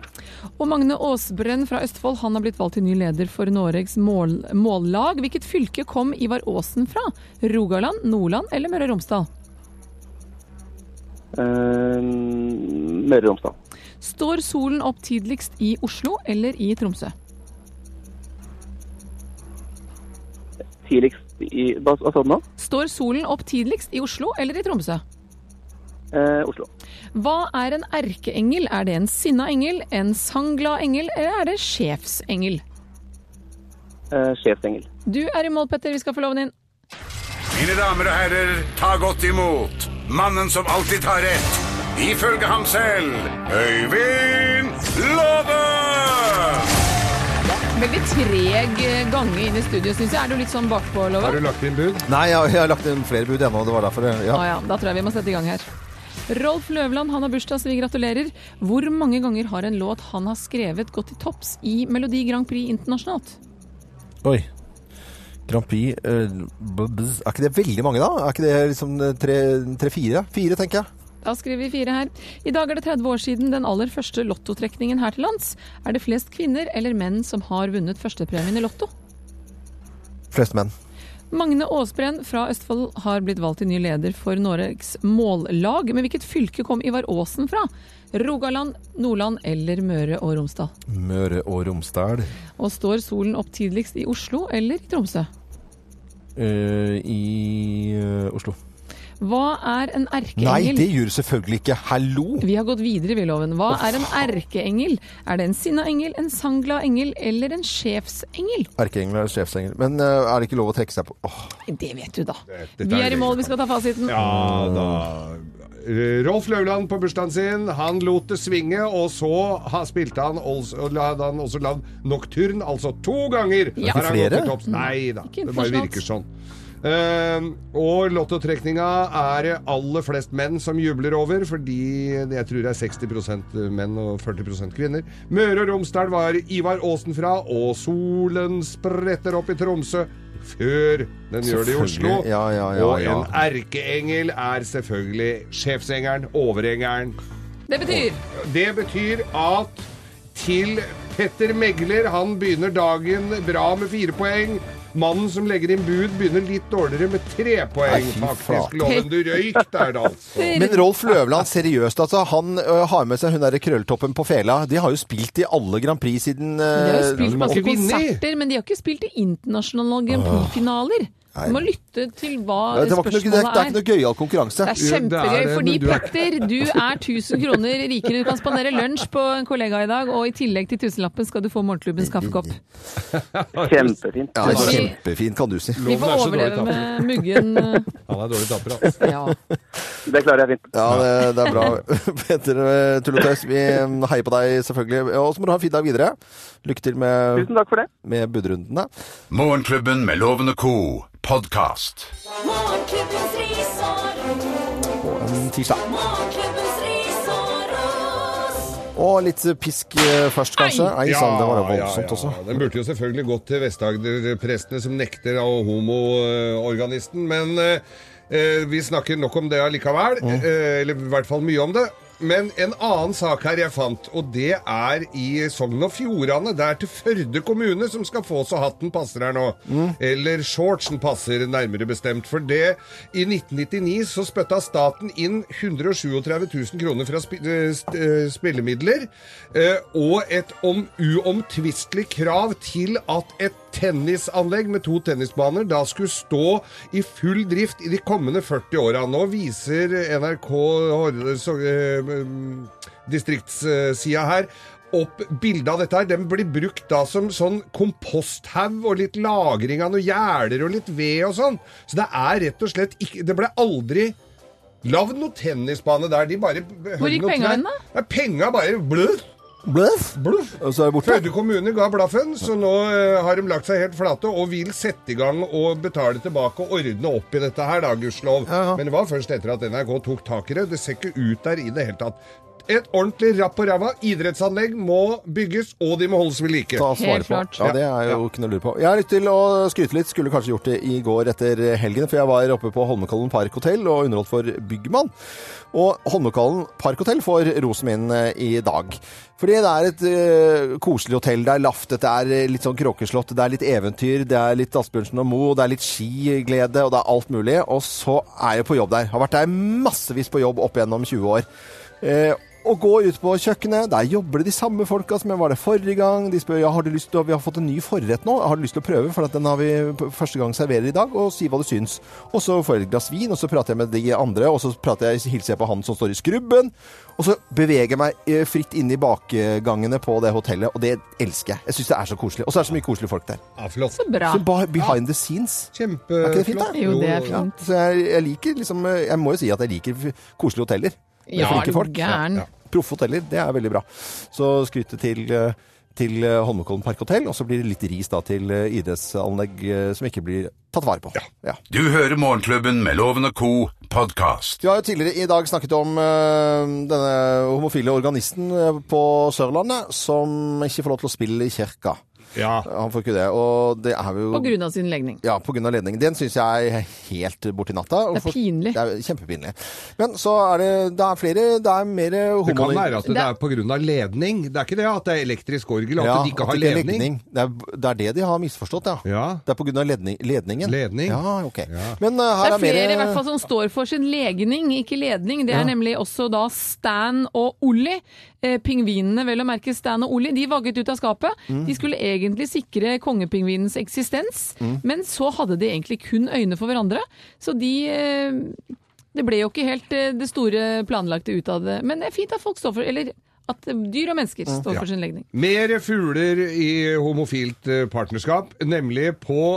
Speaker 4: Og Magne Aasbrenn fra Østfold han har blitt valgt til ny leder for Noregs mål mållag. Hvilket fylke kom Ivar Aasen fra? Rogaland, Nordland eller Møre og Romsdal?
Speaker 9: Ehm, Eh, Møre og Romsdal.
Speaker 4: Står solen opp tidligst i Oslo eller i Tromsø?
Speaker 9: Tidligst i Hva hva sa du nå?
Speaker 4: Står solen opp tidligst i Oslo eller i Tromsø?
Speaker 9: Eh, Oslo.
Speaker 4: Hva er en erkeengel? Er det en sinna engel, en sangglad engel, eller er det sjefsengel?
Speaker 9: Eh, Sjefsengel.
Speaker 4: Du er i mål, Petter. Vi skal få loven inn.
Speaker 2: Mine damer og herrer, ta godt imot mannen som alltid tar rett, ifølge ham selv, Øyvind Låve!
Speaker 4: Veldig treg eh, gange inn i studio, syns jeg. Er du litt sånn bakpå,
Speaker 5: Har du
Speaker 4: Loven?
Speaker 5: lagt inn bud?
Speaker 3: Nei, jeg, jeg har lagt inn flere bud ennå. Det var derfor det.
Speaker 4: Å
Speaker 3: Ja.
Speaker 4: ja, da tror jeg vi må sette i gang her. Rolf Løvland han har bursdag, så vi gratulerer. Hvor mange ganger har en låt han har skrevet, gått til topps i Melodi Grand Prix internasjonalt?
Speaker 3: Oi. Grand Prix eh, b- b- Er ikke det veldig mange, da? Er ikke det liksom tre-fire? fire, tenker jeg.
Speaker 4: Da skriver vi fire her. I dag er det 30 år siden den aller første lottotrekningen her til lands. Er det flest kvinner eller menn som har vunnet førstepremien i Lotto?
Speaker 3: Flest menn.
Speaker 4: Magne Aasbrenn fra Østfold har blitt valgt til ny leder for Noregs mållag. Men hvilket fylke kom Ivar Aasen fra? Rogaland, Nordland eller Møre og Romsdal?
Speaker 3: Møre og Romsdal.
Speaker 4: Og står solen opp tidligst i Oslo eller i Tromsø?
Speaker 3: eh, I eh, Oslo.
Speaker 4: Hva er en
Speaker 3: Nei,
Speaker 4: erkeengel?
Speaker 3: det gjør du selvfølgelig ikke. Hallo!
Speaker 4: Vi har gått videre, vi loven. Hva er en erkeengel? Er det en sinna engel, en sangglad engel eller en sjefsengel?
Speaker 3: Erkeengel er sjefsengel. Men eh, er det ikke lov å trekke seg på Åh,
Speaker 4: Det vet du, da.
Speaker 5: dette
Speaker 4: Vi
Speaker 5: er
Speaker 4: er i
Speaker 5: det
Speaker 4: mål,
Speaker 5: jeg
Speaker 4: vi skal ta fasiten.
Speaker 5: Ja da. Rolf Løvland på bursdagen sin. Han lot det svinge, og så ha- spilte han også, og la- hadde han også lagd Nocturne, altså to ganger.
Speaker 4: Ja.
Speaker 5: Har han gått
Speaker 3: Flere?
Speaker 5: til topps. Nei da,
Speaker 4: Ikke
Speaker 5: det bare
Speaker 4: internasjonalt.
Speaker 5: virker sånn. Eh, og lottotrekninga er det aller flest menn som jubler over, fordi jeg tror det er 60 menn og 40 kvinner. Møre og Romsdal var Ivar Aasen fra, og solen spretter opp i Tromsø før den gjør det i Oslo.
Speaker 3: Selvfølgelig. Ja, ja, ja,
Speaker 5: og
Speaker 3: ja.
Speaker 5: en erkeengel er selvfølgelig sjefsengelen, overengelen.
Speaker 4: Det betyr
Speaker 5: Det betyr at til Petter Megler, han begynner dagen bra med fire poeng. Mannen som legger inn bud, begynner litt dårligere med tre poeng,
Speaker 3: Nei, fy
Speaker 5: faktisk.
Speaker 3: flate.
Speaker 5: Loven, du røyk der, da, altså.
Speaker 3: Men Rolf Løvland, seriøst altså, han ø, har med seg hun derre krølltoppen på fela. De har jo spilt i alle Grand Prix siden eh, ø,
Speaker 4: De har jo spilt masse
Speaker 5: ikke vinne i.
Speaker 4: konserter, men de har ikke spilt i internasjonale Grand Prix-finaler. Du må lytte til hva
Speaker 3: det, var ikke noe, det, er, det er ikke
Speaker 4: spørsmålet er.
Speaker 3: noe gøyal konkurranse.
Speaker 4: Det er
Speaker 5: Jo, det er
Speaker 4: kjempegøy,
Speaker 5: det,
Speaker 4: fordi
Speaker 5: men du er-
Speaker 4: Petter, du er 1000 kroner rikere. Du kan spandere lunsj på en kollega i dag, og i tillegg til tusenlappen skal du få Morgenklubbens kaffekopp.
Speaker 9: Kjempefint.
Speaker 3: Ja, det er kjempefint, kan du si.
Speaker 4: Vi får
Speaker 5: Loven er så dårlig
Speaker 4: overleve
Speaker 5: taper.
Speaker 4: med muggen. eh,
Speaker 5: Han er dårlig taper, altså.
Speaker 4: Ja.
Speaker 9: Det klarer jeg fint.
Speaker 3: Ja, det, det er bra. Petter ø, Tulletøys, vi ø, heier på deg selvfølgelig. Og så må du ha en fin dag videre. Lykke til med,
Speaker 9: Tusen takk for det.
Speaker 3: med budrundene.
Speaker 2: Morgenklubben med Loven og co. podkast.
Speaker 1: Morgenklubbens ris og ros.
Speaker 3: På en tirsdag.
Speaker 1: Morgenklubbens ris og ros.
Speaker 3: Og litt pisk ø, først, kanskje. Ei sann, det var da
Speaker 5: ja,
Speaker 3: voldsomt også.
Speaker 5: Den burde jo selvfølgelig gått til Vest-Agder-prestene som nekter av homoorganisten, men eh, eh, vi snakker nok om det allikevel.
Speaker 3: Mm.
Speaker 5: eh, eller i hvert fall mye om det. Men en annen sak her jeg fant, og det er i Sogn og Fjordane. Det er til Førde kommune som skal få så hatten passer her nå.
Speaker 3: Mm.
Speaker 5: Eller shortsen passer, nærmere bestemt. For det, i 1999 så spytta staten inn 137 000 kroner fra spi- eh, st- eh, spillemidler, eh, og et om, uomtvistelig krav til at et tennisanlegg med to tennisbaner da skulle stå i full drift i de kommende 40 åra. Nå viser NRK Horde- så- eh, mm, distriktssida her opp bildet av dette her. Den blir brukt da som sånn komposthaug og litt lagring av noen gjerder og litt ved og sånn. Så det er rett og slett ikke Det ble aldri lagd noen tennisbane der. De bare
Speaker 4: Hvor gikk penga hen, da?
Speaker 5: Nei, penga bare bløff,
Speaker 3: Bløff!
Speaker 5: bløff.
Speaker 3: Og så er det borte.
Speaker 5: Førde kommune ga blaffen, så nå eh, har de lagt seg helt flate og vil sette i gang og betale tilbake og ordne opp i dette her, da, gudskjelov.
Speaker 3: Ja.
Speaker 5: Men det var først etter at NRK tok tak i det. Det ser ikke ut der i det hele tatt. Et ordentlig rapp og ræva idrettsanlegg må bygges, og de må holdes ved like.
Speaker 3: ta svare
Speaker 4: Helt
Speaker 3: på.
Speaker 4: klart.
Speaker 3: Ja, det er jo ikke noe å lure på. Jeg har lyst til å skryte litt. Skulle kanskje gjort det i går etter helgen, for jeg var oppe på Holmenkollen Park Hotel og underholdt for Byggmann. Og Holmenkollen Park Hotel får rosen min eh, i dag. Fordi det er et eh, koselig hotell. Det er laftet, det er eh, litt sånn kråkeslott, det er litt eventyr, det er litt Asbjørnsen og Moe, det er litt skiglede, og det er alt mulig. Og så er jeg på jobb der. Har vært der massevis på jobb opp gjennom 20 år. Eh, og gå ut på kjøkkenet, der jobber det de samme folka som jeg var der forrige gang. De spør ja, har du lyst til å, vi har fått en ny forrett nå, har du lyst til å prøve, for at den har vi p- første gang serverer i dag, og si hva du syns. Og så får jeg et glass vin, og så prater jeg med de andre, og så prater jeg, hilser jeg på han som står i skrubben. Og så beveger jeg meg eh, fritt inn i bakgangene på det hotellet, og det elsker jeg. Jeg syns det er så koselig. Og så er det så mye koselige folk der.
Speaker 5: Ja, flott.
Speaker 4: Så bra.
Speaker 3: Så ba- behind the scenes. Er ikke det fint, da?
Speaker 5: Kjempeflott.
Speaker 4: Jo, det er
Speaker 3: Ja,
Speaker 4: fint.
Speaker 3: så jeg, jeg liker liksom eh, Jeg må jo si at jeg liker f- koselige hoteller. Med
Speaker 4: Ja,
Speaker 3: flinke
Speaker 4: er du
Speaker 3: folk.
Speaker 4: gæren?
Speaker 3: Ja. Proffe hoteller, det er veldig bra. Så skryte til eh, til eh, Holmenkollen Parkhotel, og så blir det litt ris da til eh, idrettsanlegg eh, som ikke blir tatt vare på. Ja.
Speaker 2: Du hører Morgenklubben med Loven og co. podkast.
Speaker 3: Vi har jo tidligere i dag snakket om eh, denne homofile organisten eh, på Sørlandet som ikke får lov til å spille i kirka.
Speaker 5: Ja.
Speaker 3: Han får ikke det, og det er jo
Speaker 4: På grunn av sin legning.
Speaker 3: Ja, på grunn av ledningen. Den syns jeg er helt borti natta. og
Speaker 4: Det er
Speaker 3: for-
Speaker 4: pinlig.
Speaker 3: Det er kjempepinlig. Men så er det, det er flere Det er mer homo...
Speaker 5: Det kan være at det,
Speaker 4: Det-
Speaker 5: er på grunn av ledning. Det er ikke det at det er elektrisk orgel, at de ikke
Speaker 3: at
Speaker 5: har
Speaker 3: det ikke er
Speaker 5: ledning.
Speaker 3: Det er, det er det de har misforstått, ja.
Speaker 5: Ja.
Speaker 3: Det er på grunn av ledning, ledningen.
Speaker 5: Ledning.
Speaker 3: Ja, ok.
Speaker 5: Ja.
Speaker 3: Men uh,
Speaker 4: Det
Speaker 3: her
Speaker 4: er flere i
Speaker 3: mer
Speaker 4: hvert fall som står for sin legning, ikke ledning. Det er nemlig også da Stan og Olli. Eh, pingvinene, vel å merke Stan og Olli, de vagget ut av skapet. De skulle egentlig sikre kongepingvinens eksistens, men så hadde de egentlig kun øyne for hverandre. Så de eh, Det ble jo ikke helt eh, det store planlagte ut av det. Men det er fint at folk står for Eller at dyr og mennesker står for sin legning.
Speaker 5: Mer fugler i homofilt eh, partnerskap, nemlig på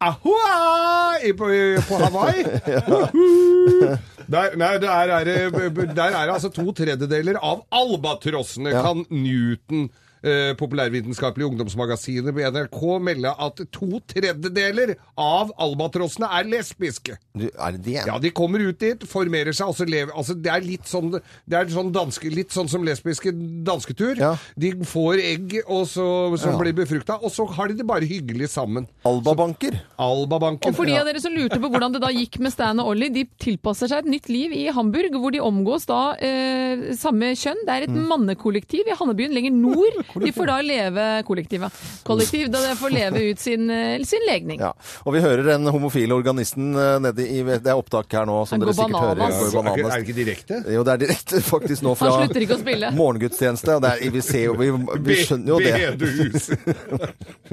Speaker 5: Ahoa! I, på, i- på Hawaii! Uhu! der, nei, der, er, det- der er det altså to tredjedeler av albatrossene kan Newton eh, populærvitenskapelige ungdomsmagasinet på NRK melde at to tredjedeler av albatrossene er lesbiske.
Speaker 3: Du, er det det?
Speaker 5: Ja, de kommer ut dit, formerer seg, og så lever Altså, det er litt sånn, det er sånn, danske, litt sånn som lesbiske dansketur.
Speaker 3: Ja.
Speaker 5: De får egg og så, som
Speaker 3: Ja.
Speaker 5: blir befrukta, og så har de det bare hyggelig sammen.
Speaker 3: Albabanker.
Speaker 5: Albabanken.
Speaker 4: Og for de av dere som lurte på hvordan det da gikk med Stan og Ollie, de tilpasser seg et nytt liv i Hamburg, hvor de omgås da eh, samme kjønn. Det er et mannekollektiv i Hannebyen lenger nord. De får da leve kollektivet. Kollektiv, da de får leve ut sin, eh, sin legning.
Speaker 3: Ja. Og vi hører den homofile organisten eh, nede i Det er opptak her nå, som
Speaker 4: Han
Speaker 3: dere
Speaker 4: går
Speaker 3: sikkert
Speaker 5: Ja,
Speaker 4: bananas.
Speaker 3: hører.
Speaker 5: er, ikke, er det
Speaker 3: bananas.
Speaker 5: ikke direkte?
Speaker 3: Jo, det er direkte faktisk nå fra
Speaker 4: Han slutter ikke å spille.
Speaker 3: morgengudstjeneste. Og det er, vi, ser jo, vi, vi skjønner jo det.
Speaker 5: Bedehus.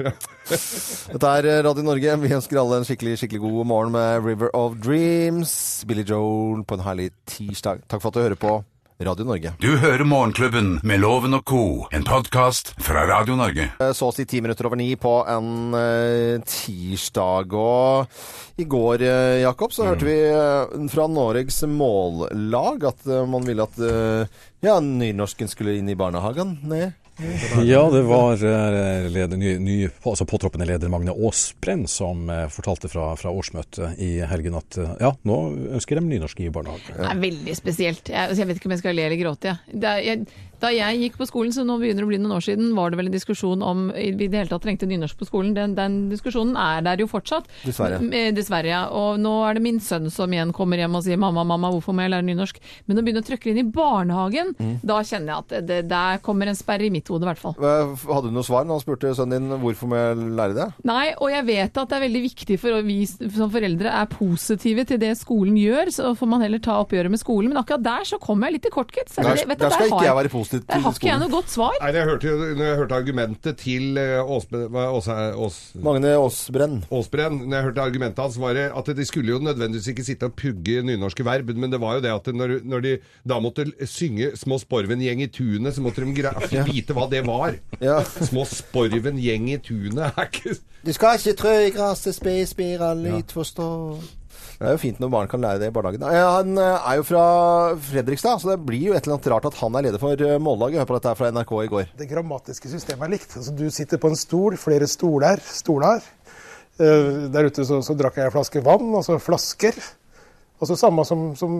Speaker 3: Dette er eh, Radio Norge. Vi ønsker alle en skikkelig skikkelig god morgen med River of Dreams. Billy Joel på en herlig tirsdag. Takk for at du hører på Radio Norge.
Speaker 2: Du hører Morgenklubben med Loven og Co., en podkast fra Radio Norge.
Speaker 3: Eh, Så å si ti minutter over ni på en eh, tirsdag. Og i går, eh, Jakob, så hørte vi eh, fra Noregs mållag at eh, man ville at eh, ja, nynorsken skulle inn i barnehagen. Nei.
Speaker 6: Ja, det var eh, leder, ny, ny, altså påtroppende leder Magne Aasbrenn som eh, fortalte fra, fra årsmøtet i helgen at eh, ja, nå ønsker de nynorsk i barnehagen.
Speaker 4: Det er veldig spesielt. Jeg, altså, jeg vet ikke om jeg skal le eller gråte. Jeg. Da, jeg, da jeg gikk på skolen, så nå begynner det å bli noen år siden, var det vel en diskusjon om i det hele tatt trengte nynorsk på skolen. Den, den diskusjonen er der jo fortsatt.
Speaker 3: Dessverre.
Speaker 4: M- eh, Dessverre, ja. Og nå er det min sønn som igjen kommer hjem og sier mamma, mamma, hvorfor må jeg lære nynorsk? Men å begynne å trykke det inn i barnehagen, da kjenner jeg at det, der kommer en sperre i mitt hode i hvert fall.
Speaker 3: Hva- Hadde du noe svar når han spurte sønnen din hvorfor må jeg lære det?
Speaker 4: Nei, og jeg vet at det er veldig viktig for vi som foreldre er positive til det skolen gjør, så får man heller ta oppgjøret med skolen. Men akkurat der så kommer jeg litt i kort, gitt. Så
Speaker 3: Der-
Speaker 4: det- vet du,
Speaker 3: der skal ikke
Speaker 4: har
Speaker 3: jeg være positiv til
Speaker 4: Der har ikke jeg
Speaker 3: skolen.
Speaker 4: noe godt svar.
Speaker 5: Nei, jeg hørte, jo- når jeg hørte argumentet til eh, Åsbe, hva- Åse- Ås,
Speaker 3: Magne Aasbrenn.
Speaker 5: Aasbrenn, når jeg hørte argumentet hans, var det at de skulle jo nødvendigvis ikke sitte og pugge nynorske verb, men det var jo det at når, når de da måtte l- synge Små sporven gjeng i tunet, så måtte de gra vite hva det var.
Speaker 3: Ja.
Speaker 5: Små sporven gjeng i tunet er ikke
Speaker 3: Du skal ikke trø i gresset, spe spiral, litt forstå Det er jo fint når barn kan lære det i barnehagen. Ja, Han eh, er jo fra Fredrikstad, så det blir jo et eller annet rart at han er leder for eh, mållaget. Hør på dette her fra NRK i går.
Speaker 10: Det grammatiske systemet er likt. Altså, du sitter på en stol, flere stoler, stoler. Eh, Der ute så, så drakk jeg en flaske vann, altså flasker. Altså samme som, som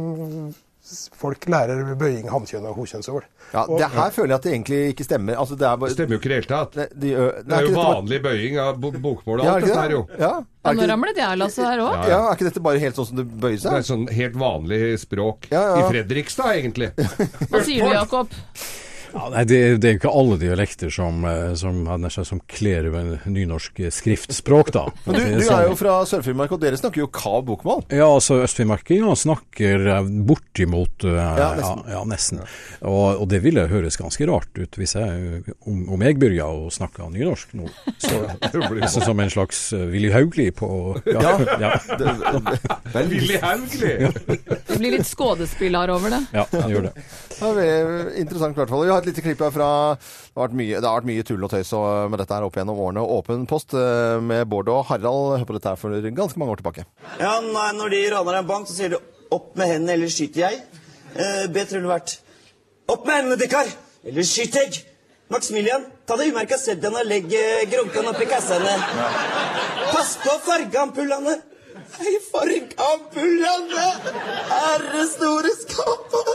Speaker 10: folk lærer bøying, hankjønn og hokjønnsord.
Speaker 3: Ja, det her føler jeg at det egentlig ikke stemmer. Altså, det er bare
Speaker 5: Stemmer jo ikke i det hele tatt.
Speaker 3: Det, de, ø-
Speaker 5: Det er
Speaker 3: ikke
Speaker 5: jo
Speaker 3: dette bare-
Speaker 5: vanlig bøying av bo- bokmål og
Speaker 3: Ja, er
Speaker 5: alt
Speaker 3: det ikke
Speaker 5: dette her, jo.
Speaker 3: det? Ja,
Speaker 4: Ja,
Speaker 3: er
Speaker 4: nå
Speaker 3: ikke,
Speaker 4: ramlet jeg altså her òg.
Speaker 3: ja, er ikke dette bare helt sånn som det bøyer
Speaker 5: Det er
Speaker 3: seg?
Speaker 5: sånn helt vanlig språk
Speaker 3: Ja, ja.
Speaker 5: i Fredrikstad, egentlig.
Speaker 4: Hva sier du, Jakob?
Speaker 6: Ja, nei, det, det er jo ikke alle dialekter som, eh, som, hadde nær sagt som kler over nynorsk skriftspråk, da.
Speaker 3: Men du, du er jo fra Sør-Finnmark, og dere snakker jo kav bokmål.
Speaker 6: Ja, altså østfinnmarkinger snakker eh, bortimot eh,
Speaker 3: Ja, nesten.
Speaker 6: Ja, ja, nesten. Og, og det ville høres ganske rart ut hvis jeg, om, om jeg begynte å snakke nynorsk nå. Så, nesten som en slags eh, Willy Haugli på Ja. ja.
Speaker 3: Det, det, vel,
Speaker 5: Billy Haugli!
Speaker 4: Det blir litt skådespill her over det.
Speaker 6: ja jeg gjør det.
Speaker 3: Det er veldig interessant i hvert fall. Vi har et lite klipp her fra Det har vært mye, det har vært mye tull og tøys og- med dette her opp gjennom årene. Åpen post eh, med Bård og Harald. Hør på dette her for ganske mange år tilbake.
Speaker 11: Ja, nei, når de raner en bank, så sier de 'opp med hendene, eller skyter jeg'. Eh, Bedt ville vært 'opp med hendene, dekkar, eller skyter jeg'. Maximilian, ta deg umerka sedjan og legg eh, groggan oppi kassene. Pass på fargeampullene! Nei, fargeampullene! Herre store skapet!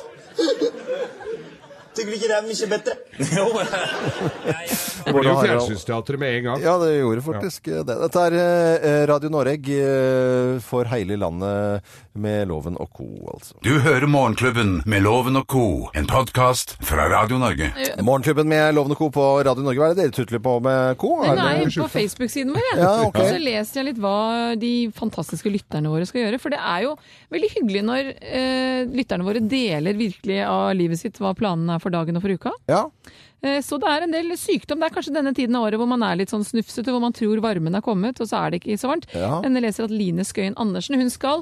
Speaker 11: Tykker du ikke det er mye bedre? Jo,
Speaker 5: Det blir
Speaker 3: Bård
Speaker 5: jo
Speaker 3: og Harald.
Speaker 5: fjernsynsteatret med en gang.
Speaker 3: Ja, det gjorde faktisk det. Dette er eh, Radio Noreg eh, for hele landet med Loven og co., altså.
Speaker 2: Du hører Morgenklubben med Loven og Co., en podkast fra Radio Norge.
Speaker 3: Morgenklubben med Loven og co. på Radio Norge. Hva er det dere tutler på med co?
Speaker 4: Den
Speaker 3: Er det-
Speaker 4: er jo på Facebook-siden vår, jeg.
Speaker 3: Ja, ok.
Speaker 4: Og så leser jeg litt hva de fantastiske lytterne våre skal gjøre. For det er jo veldig hyggelig når eh, lytterne våre deler virkelig av livet sitt hva planene er for dagen og for uka.
Speaker 3: Ja.
Speaker 4: Eh, Så det er en del sykdom. Det er kanskje denne tiden av året hvor man er litt sånn snufsete, hvor man tror varmen er kommet, og så er det ikke så varmt.
Speaker 3: Ja.
Speaker 4: Men jeg leser at Line Skøyen Andersen hun skal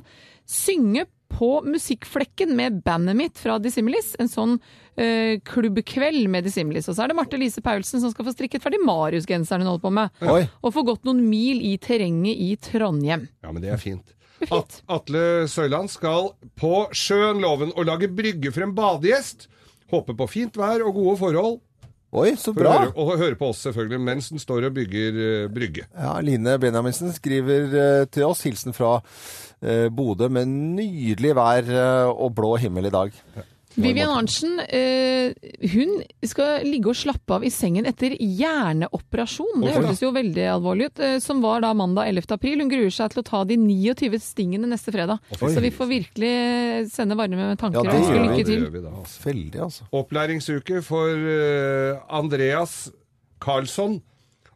Speaker 4: synge på Musikkflekken med bandet mitt fra Dissimilis. En sånn eh, klubbkveld med Dissimilis. Og så er det Marte Lise Paulsen som skal få strikket ferdig Marius-genseren hun holder på med.
Speaker 3: Oi.
Speaker 4: Og få gått noen mil i terrenget i Trondheim.
Speaker 5: Ja, men det er fint. At, Atle Søyland skal på sjøen, loven, og lage brygge for en badegjest. Håper på fint vær og gode forhold.
Speaker 3: Oi, så
Speaker 5: For å
Speaker 3: bra!
Speaker 5: høre, og høre på oss, selvfølgelig, mens den står og bygger eh, brygge.
Speaker 3: Ja, Line Benjaminsen skriver eh, til oss hilsen fra eh, Bodø med nydelig vær eh, og blå himmel i dag.
Speaker 4: Vivian Arntzen eh, hun skal ligge og slappe av i sengen etter hjerneoperasjon. Det
Speaker 5: Hvorfor da?
Speaker 4: hørtes jo veldig alvorlig ut. eh, Som var da mandag 11. april. Hun gruer seg til å ta de 29 stingene neste fredag. Så vi får virkelig eh, sende varme
Speaker 3: Ja,
Speaker 4: tanker
Speaker 3: det
Speaker 4: og ønske
Speaker 3: gjør
Speaker 5: Ja,
Speaker 4: lykke
Speaker 5: det
Speaker 4: til.
Speaker 5: gjør vi da, altså.
Speaker 3: Veldig, altså.
Speaker 5: Opplæringsuke for eh, Andreas Karlsson.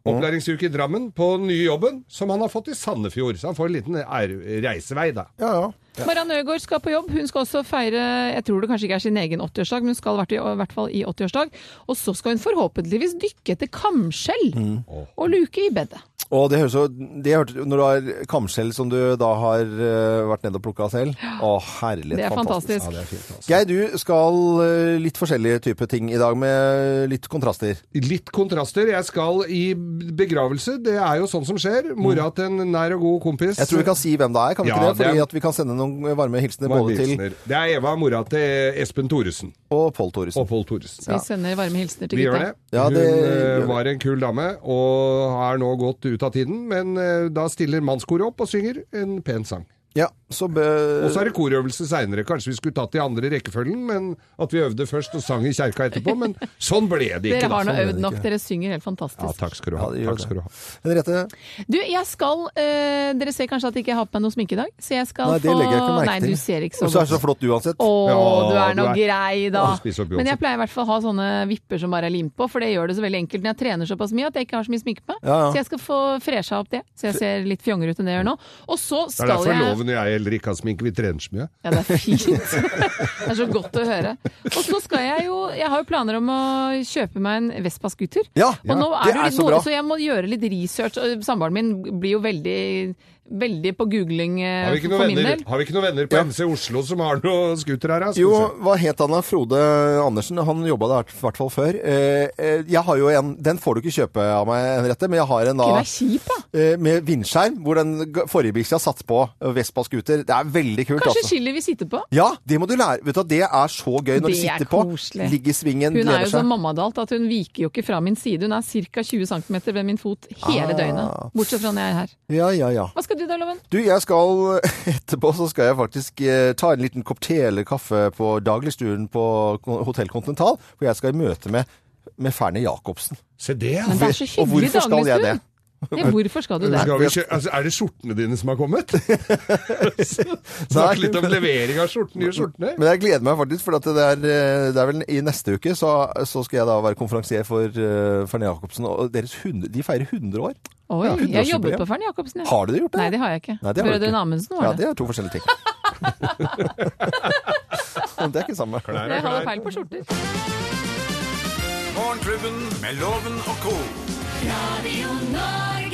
Speaker 5: Opplæringsuke i Drammen på den nye jobben som han har fått i Sandefjord. Så han får en liten ære- reisevei, da.
Speaker 3: Ja, ja.
Speaker 4: Marianne Øgaard skal på jobb. Hun skal også feire jeg tror det kanskje ikke er sin egen 80-årsdag, men hun skal i hvert- i hvert fall i 80-årsdag. Og så skal hun forhåpentligvis dykke etter kamskjell
Speaker 5: Mm.
Speaker 4: og luke i bedet.
Speaker 3: Og det høres jo det hørte, Når du har kamskjell som du da har eh, vært nede og plukka selv Å, herlighet.
Speaker 4: Det er fantastisk.
Speaker 5: Det er fint, altså.
Speaker 3: Geir, du skal eh, litt forskjellige typer ting i dag, med litt kontraster.
Speaker 5: Litt kontraster. Jeg skal i begravelse. Det er jo sånn som skjer. Mora til en nær og god kompis.
Speaker 3: Jeg tror vi kan si hvem det er, kan vi
Speaker 5: Ja,
Speaker 3: ikke det?
Speaker 5: det er-
Speaker 3: Fordi at vi kan sende noen varme hilsener
Speaker 5: Var
Speaker 3: både til
Speaker 5: Wilsner. Det er Eva, mora til Espen Thoresen.
Speaker 3: og Pål Thoresen.
Speaker 5: Og Pål Thoresen.
Speaker 4: Så vi sender varme hilsener til
Speaker 5: Vi gjør
Speaker 4: gutta.
Speaker 5: det.
Speaker 3: Ja, det
Speaker 5: Hun
Speaker 3: gjør
Speaker 5: eh,
Speaker 3: vi.
Speaker 5: var en kul dame, og har nå gått ut av tiden. Men eh, da stiller mannskoret opp og synger en pen sang.
Speaker 3: Ja, så bø...
Speaker 5: Og så er det korøvelse seinere. Kanskje vi skulle tatt det i andre rekkefølgen, men at vi øvde først og sang i kjerka etterpå. Men sånn ble det
Speaker 4: Dere
Speaker 5: ikke.
Speaker 4: har nå
Speaker 5: da. Sånn ble
Speaker 4: øvd
Speaker 5: det
Speaker 4: nok.
Speaker 5: ikke.
Speaker 4: Dere synger helt fantastisk.
Speaker 5: Ja, takk skal du ha.
Speaker 3: Ja, det gjør
Speaker 5: takk
Speaker 3: det.
Speaker 5: skal du ha.
Speaker 3: Henriette,
Speaker 4: Du, jeg skal eh, Dere ser kanskje at jeg ikke har på meg noe sminke i dag, så jeg skal
Speaker 3: nei, det
Speaker 4: få
Speaker 3: legger jeg ikke merke
Speaker 4: Nei,
Speaker 3: til.
Speaker 4: du ser ikke
Speaker 3: Og
Speaker 4: så
Speaker 3: så er det
Speaker 4: godt
Speaker 3: så flott uansett.
Speaker 4: Å,
Speaker 5: Ja,
Speaker 4: du er
Speaker 5: du
Speaker 4: nå
Speaker 5: er-
Speaker 4: grei, da.
Speaker 5: Ja, spis opp Beyoncé.
Speaker 4: Men jeg pleier i hvert fall å ha sånne vipper som bare er limt på, for det gjør det så veldig enkelt når jeg trener såpass mye at jeg ikke har så mye sminke på meg.
Speaker 3: Ja, ja.
Speaker 4: Så jeg skal få fresha opp det, så jeg ser litt fjongere ut enn det jeg gjør nå. Og så
Speaker 5: Det er
Speaker 4: skal
Speaker 5: derfor
Speaker 4: jeg
Speaker 5: loven og jeg heller ikke har sminke. Vi trener så mye.
Speaker 4: ja, det er fint. Det er så godt å høre. Og så skal jeg jo Jeg har jo planer om å kjøpe meg en Vespa scooter.
Speaker 3: Ja,
Speaker 4: og nå
Speaker 3: ja,
Speaker 4: er
Speaker 3: det
Speaker 4: det jo
Speaker 3: er
Speaker 4: litt
Speaker 3: så
Speaker 4: moro,
Speaker 3: bra.
Speaker 4: så jeg må gjøre litt research. og Samboeren min blir jo veldig Veldig på googling eh,
Speaker 5: Har vi ikke
Speaker 4: for
Speaker 5: noen
Speaker 4: min
Speaker 5: venner,
Speaker 4: del.
Speaker 5: har vi ikke noen venner på MC Oslo som har noe scooter her? da? Skal
Speaker 3: Jo,
Speaker 5: vi se.
Speaker 3: hva het han da? Frode Andersen. Han jobba der i hvert fall før. Eh, eh, Jeg har jo en, den får du ikke kjøpe av meg, Henriette, men jeg har en da
Speaker 4: Ikke vær kjip, da!
Speaker 3: eh, med vindskjerm, hvor den g- forrige bikkja satt på eh, Vespa scooter. Det er veldig kult,
Speaker 4: Kanskje
Speaker 3: altså.
Speaker 4: Chili vil sitte på?
Speaker 3: Ja, det må du lære. Vet du, hva, det er så gøy når
Speaker 4: Det er
Speaker 3: du sitter på,
Speaker 4: koselig.
Speaker 3: ligger i svingen,
Speaker 4: Hun er
Speaker 3: lener
Speaker 4: jo så
Speaker 3: seg.
Speaker 4: mammadalt at hun viker jo ikke fra min side. Hun er ca. 20 cm ved min fot hele
Speaker 3: Ah.
Speaker 4: døgnet. Bortsett fra når jeg er her.
Speaker 3: Ja, ja, ja.
Speaker 4: Hva skal du da, Loven?
Speaker 3: Du, jeg skal etterpå så skal jeg faktisk eh, ta en liten kopp te eller kaffe på dagligstuen på Kon- Hotell Continental, for jeg skal i møte med, med Ferne Jacobsen.
Speaker 5: Se det! altså.
Speaker 4: Men det er så
Speaker 3: Og
Speaker 4: hyggelig
Speaker 3: hvorfor skal jeg det?
Speaker 4: dagligstund! Ja, hvorfor skal du det?
Speaker 5: Skal vi kjø altså, er det skjortene dine som har kommet?
Speaker 3: Nei,
Speaker 5: Snakk litt om
Speaker 3: men-
Speaker 5: levering av skjorten, nye skjortene.
Speaker 3: Men jeg gleder meg faktisk, for at det, er, eh, det er vel i neste uke så, så skal jeg da være konferansier for eh, Ferne Jacobsen. Og deres hund, de feirer 100 år.
Speaker 4: Oi, jeg jobbet
Speaker 3: hundreårsjubileum.
Speaker 4: på Fern Jacobsen, jeg.
Speaker 3: Har dere gjort det?
Speaker 4: Nei, det har jeg ikke.
Speaker 3: Nei, det har du ikke.
Speaker 4: Brødrene Amundsen
Speaker 3: Ja,
Speaker 4: var det.
Speaker 3: det er to forskjellige ting. Men det er ikke samme.
Speaker 4: Jeg holder peil på skjorter.
Speaker 2: Morgenklubben med Loven og co.
Speaker 1: Radio Norge.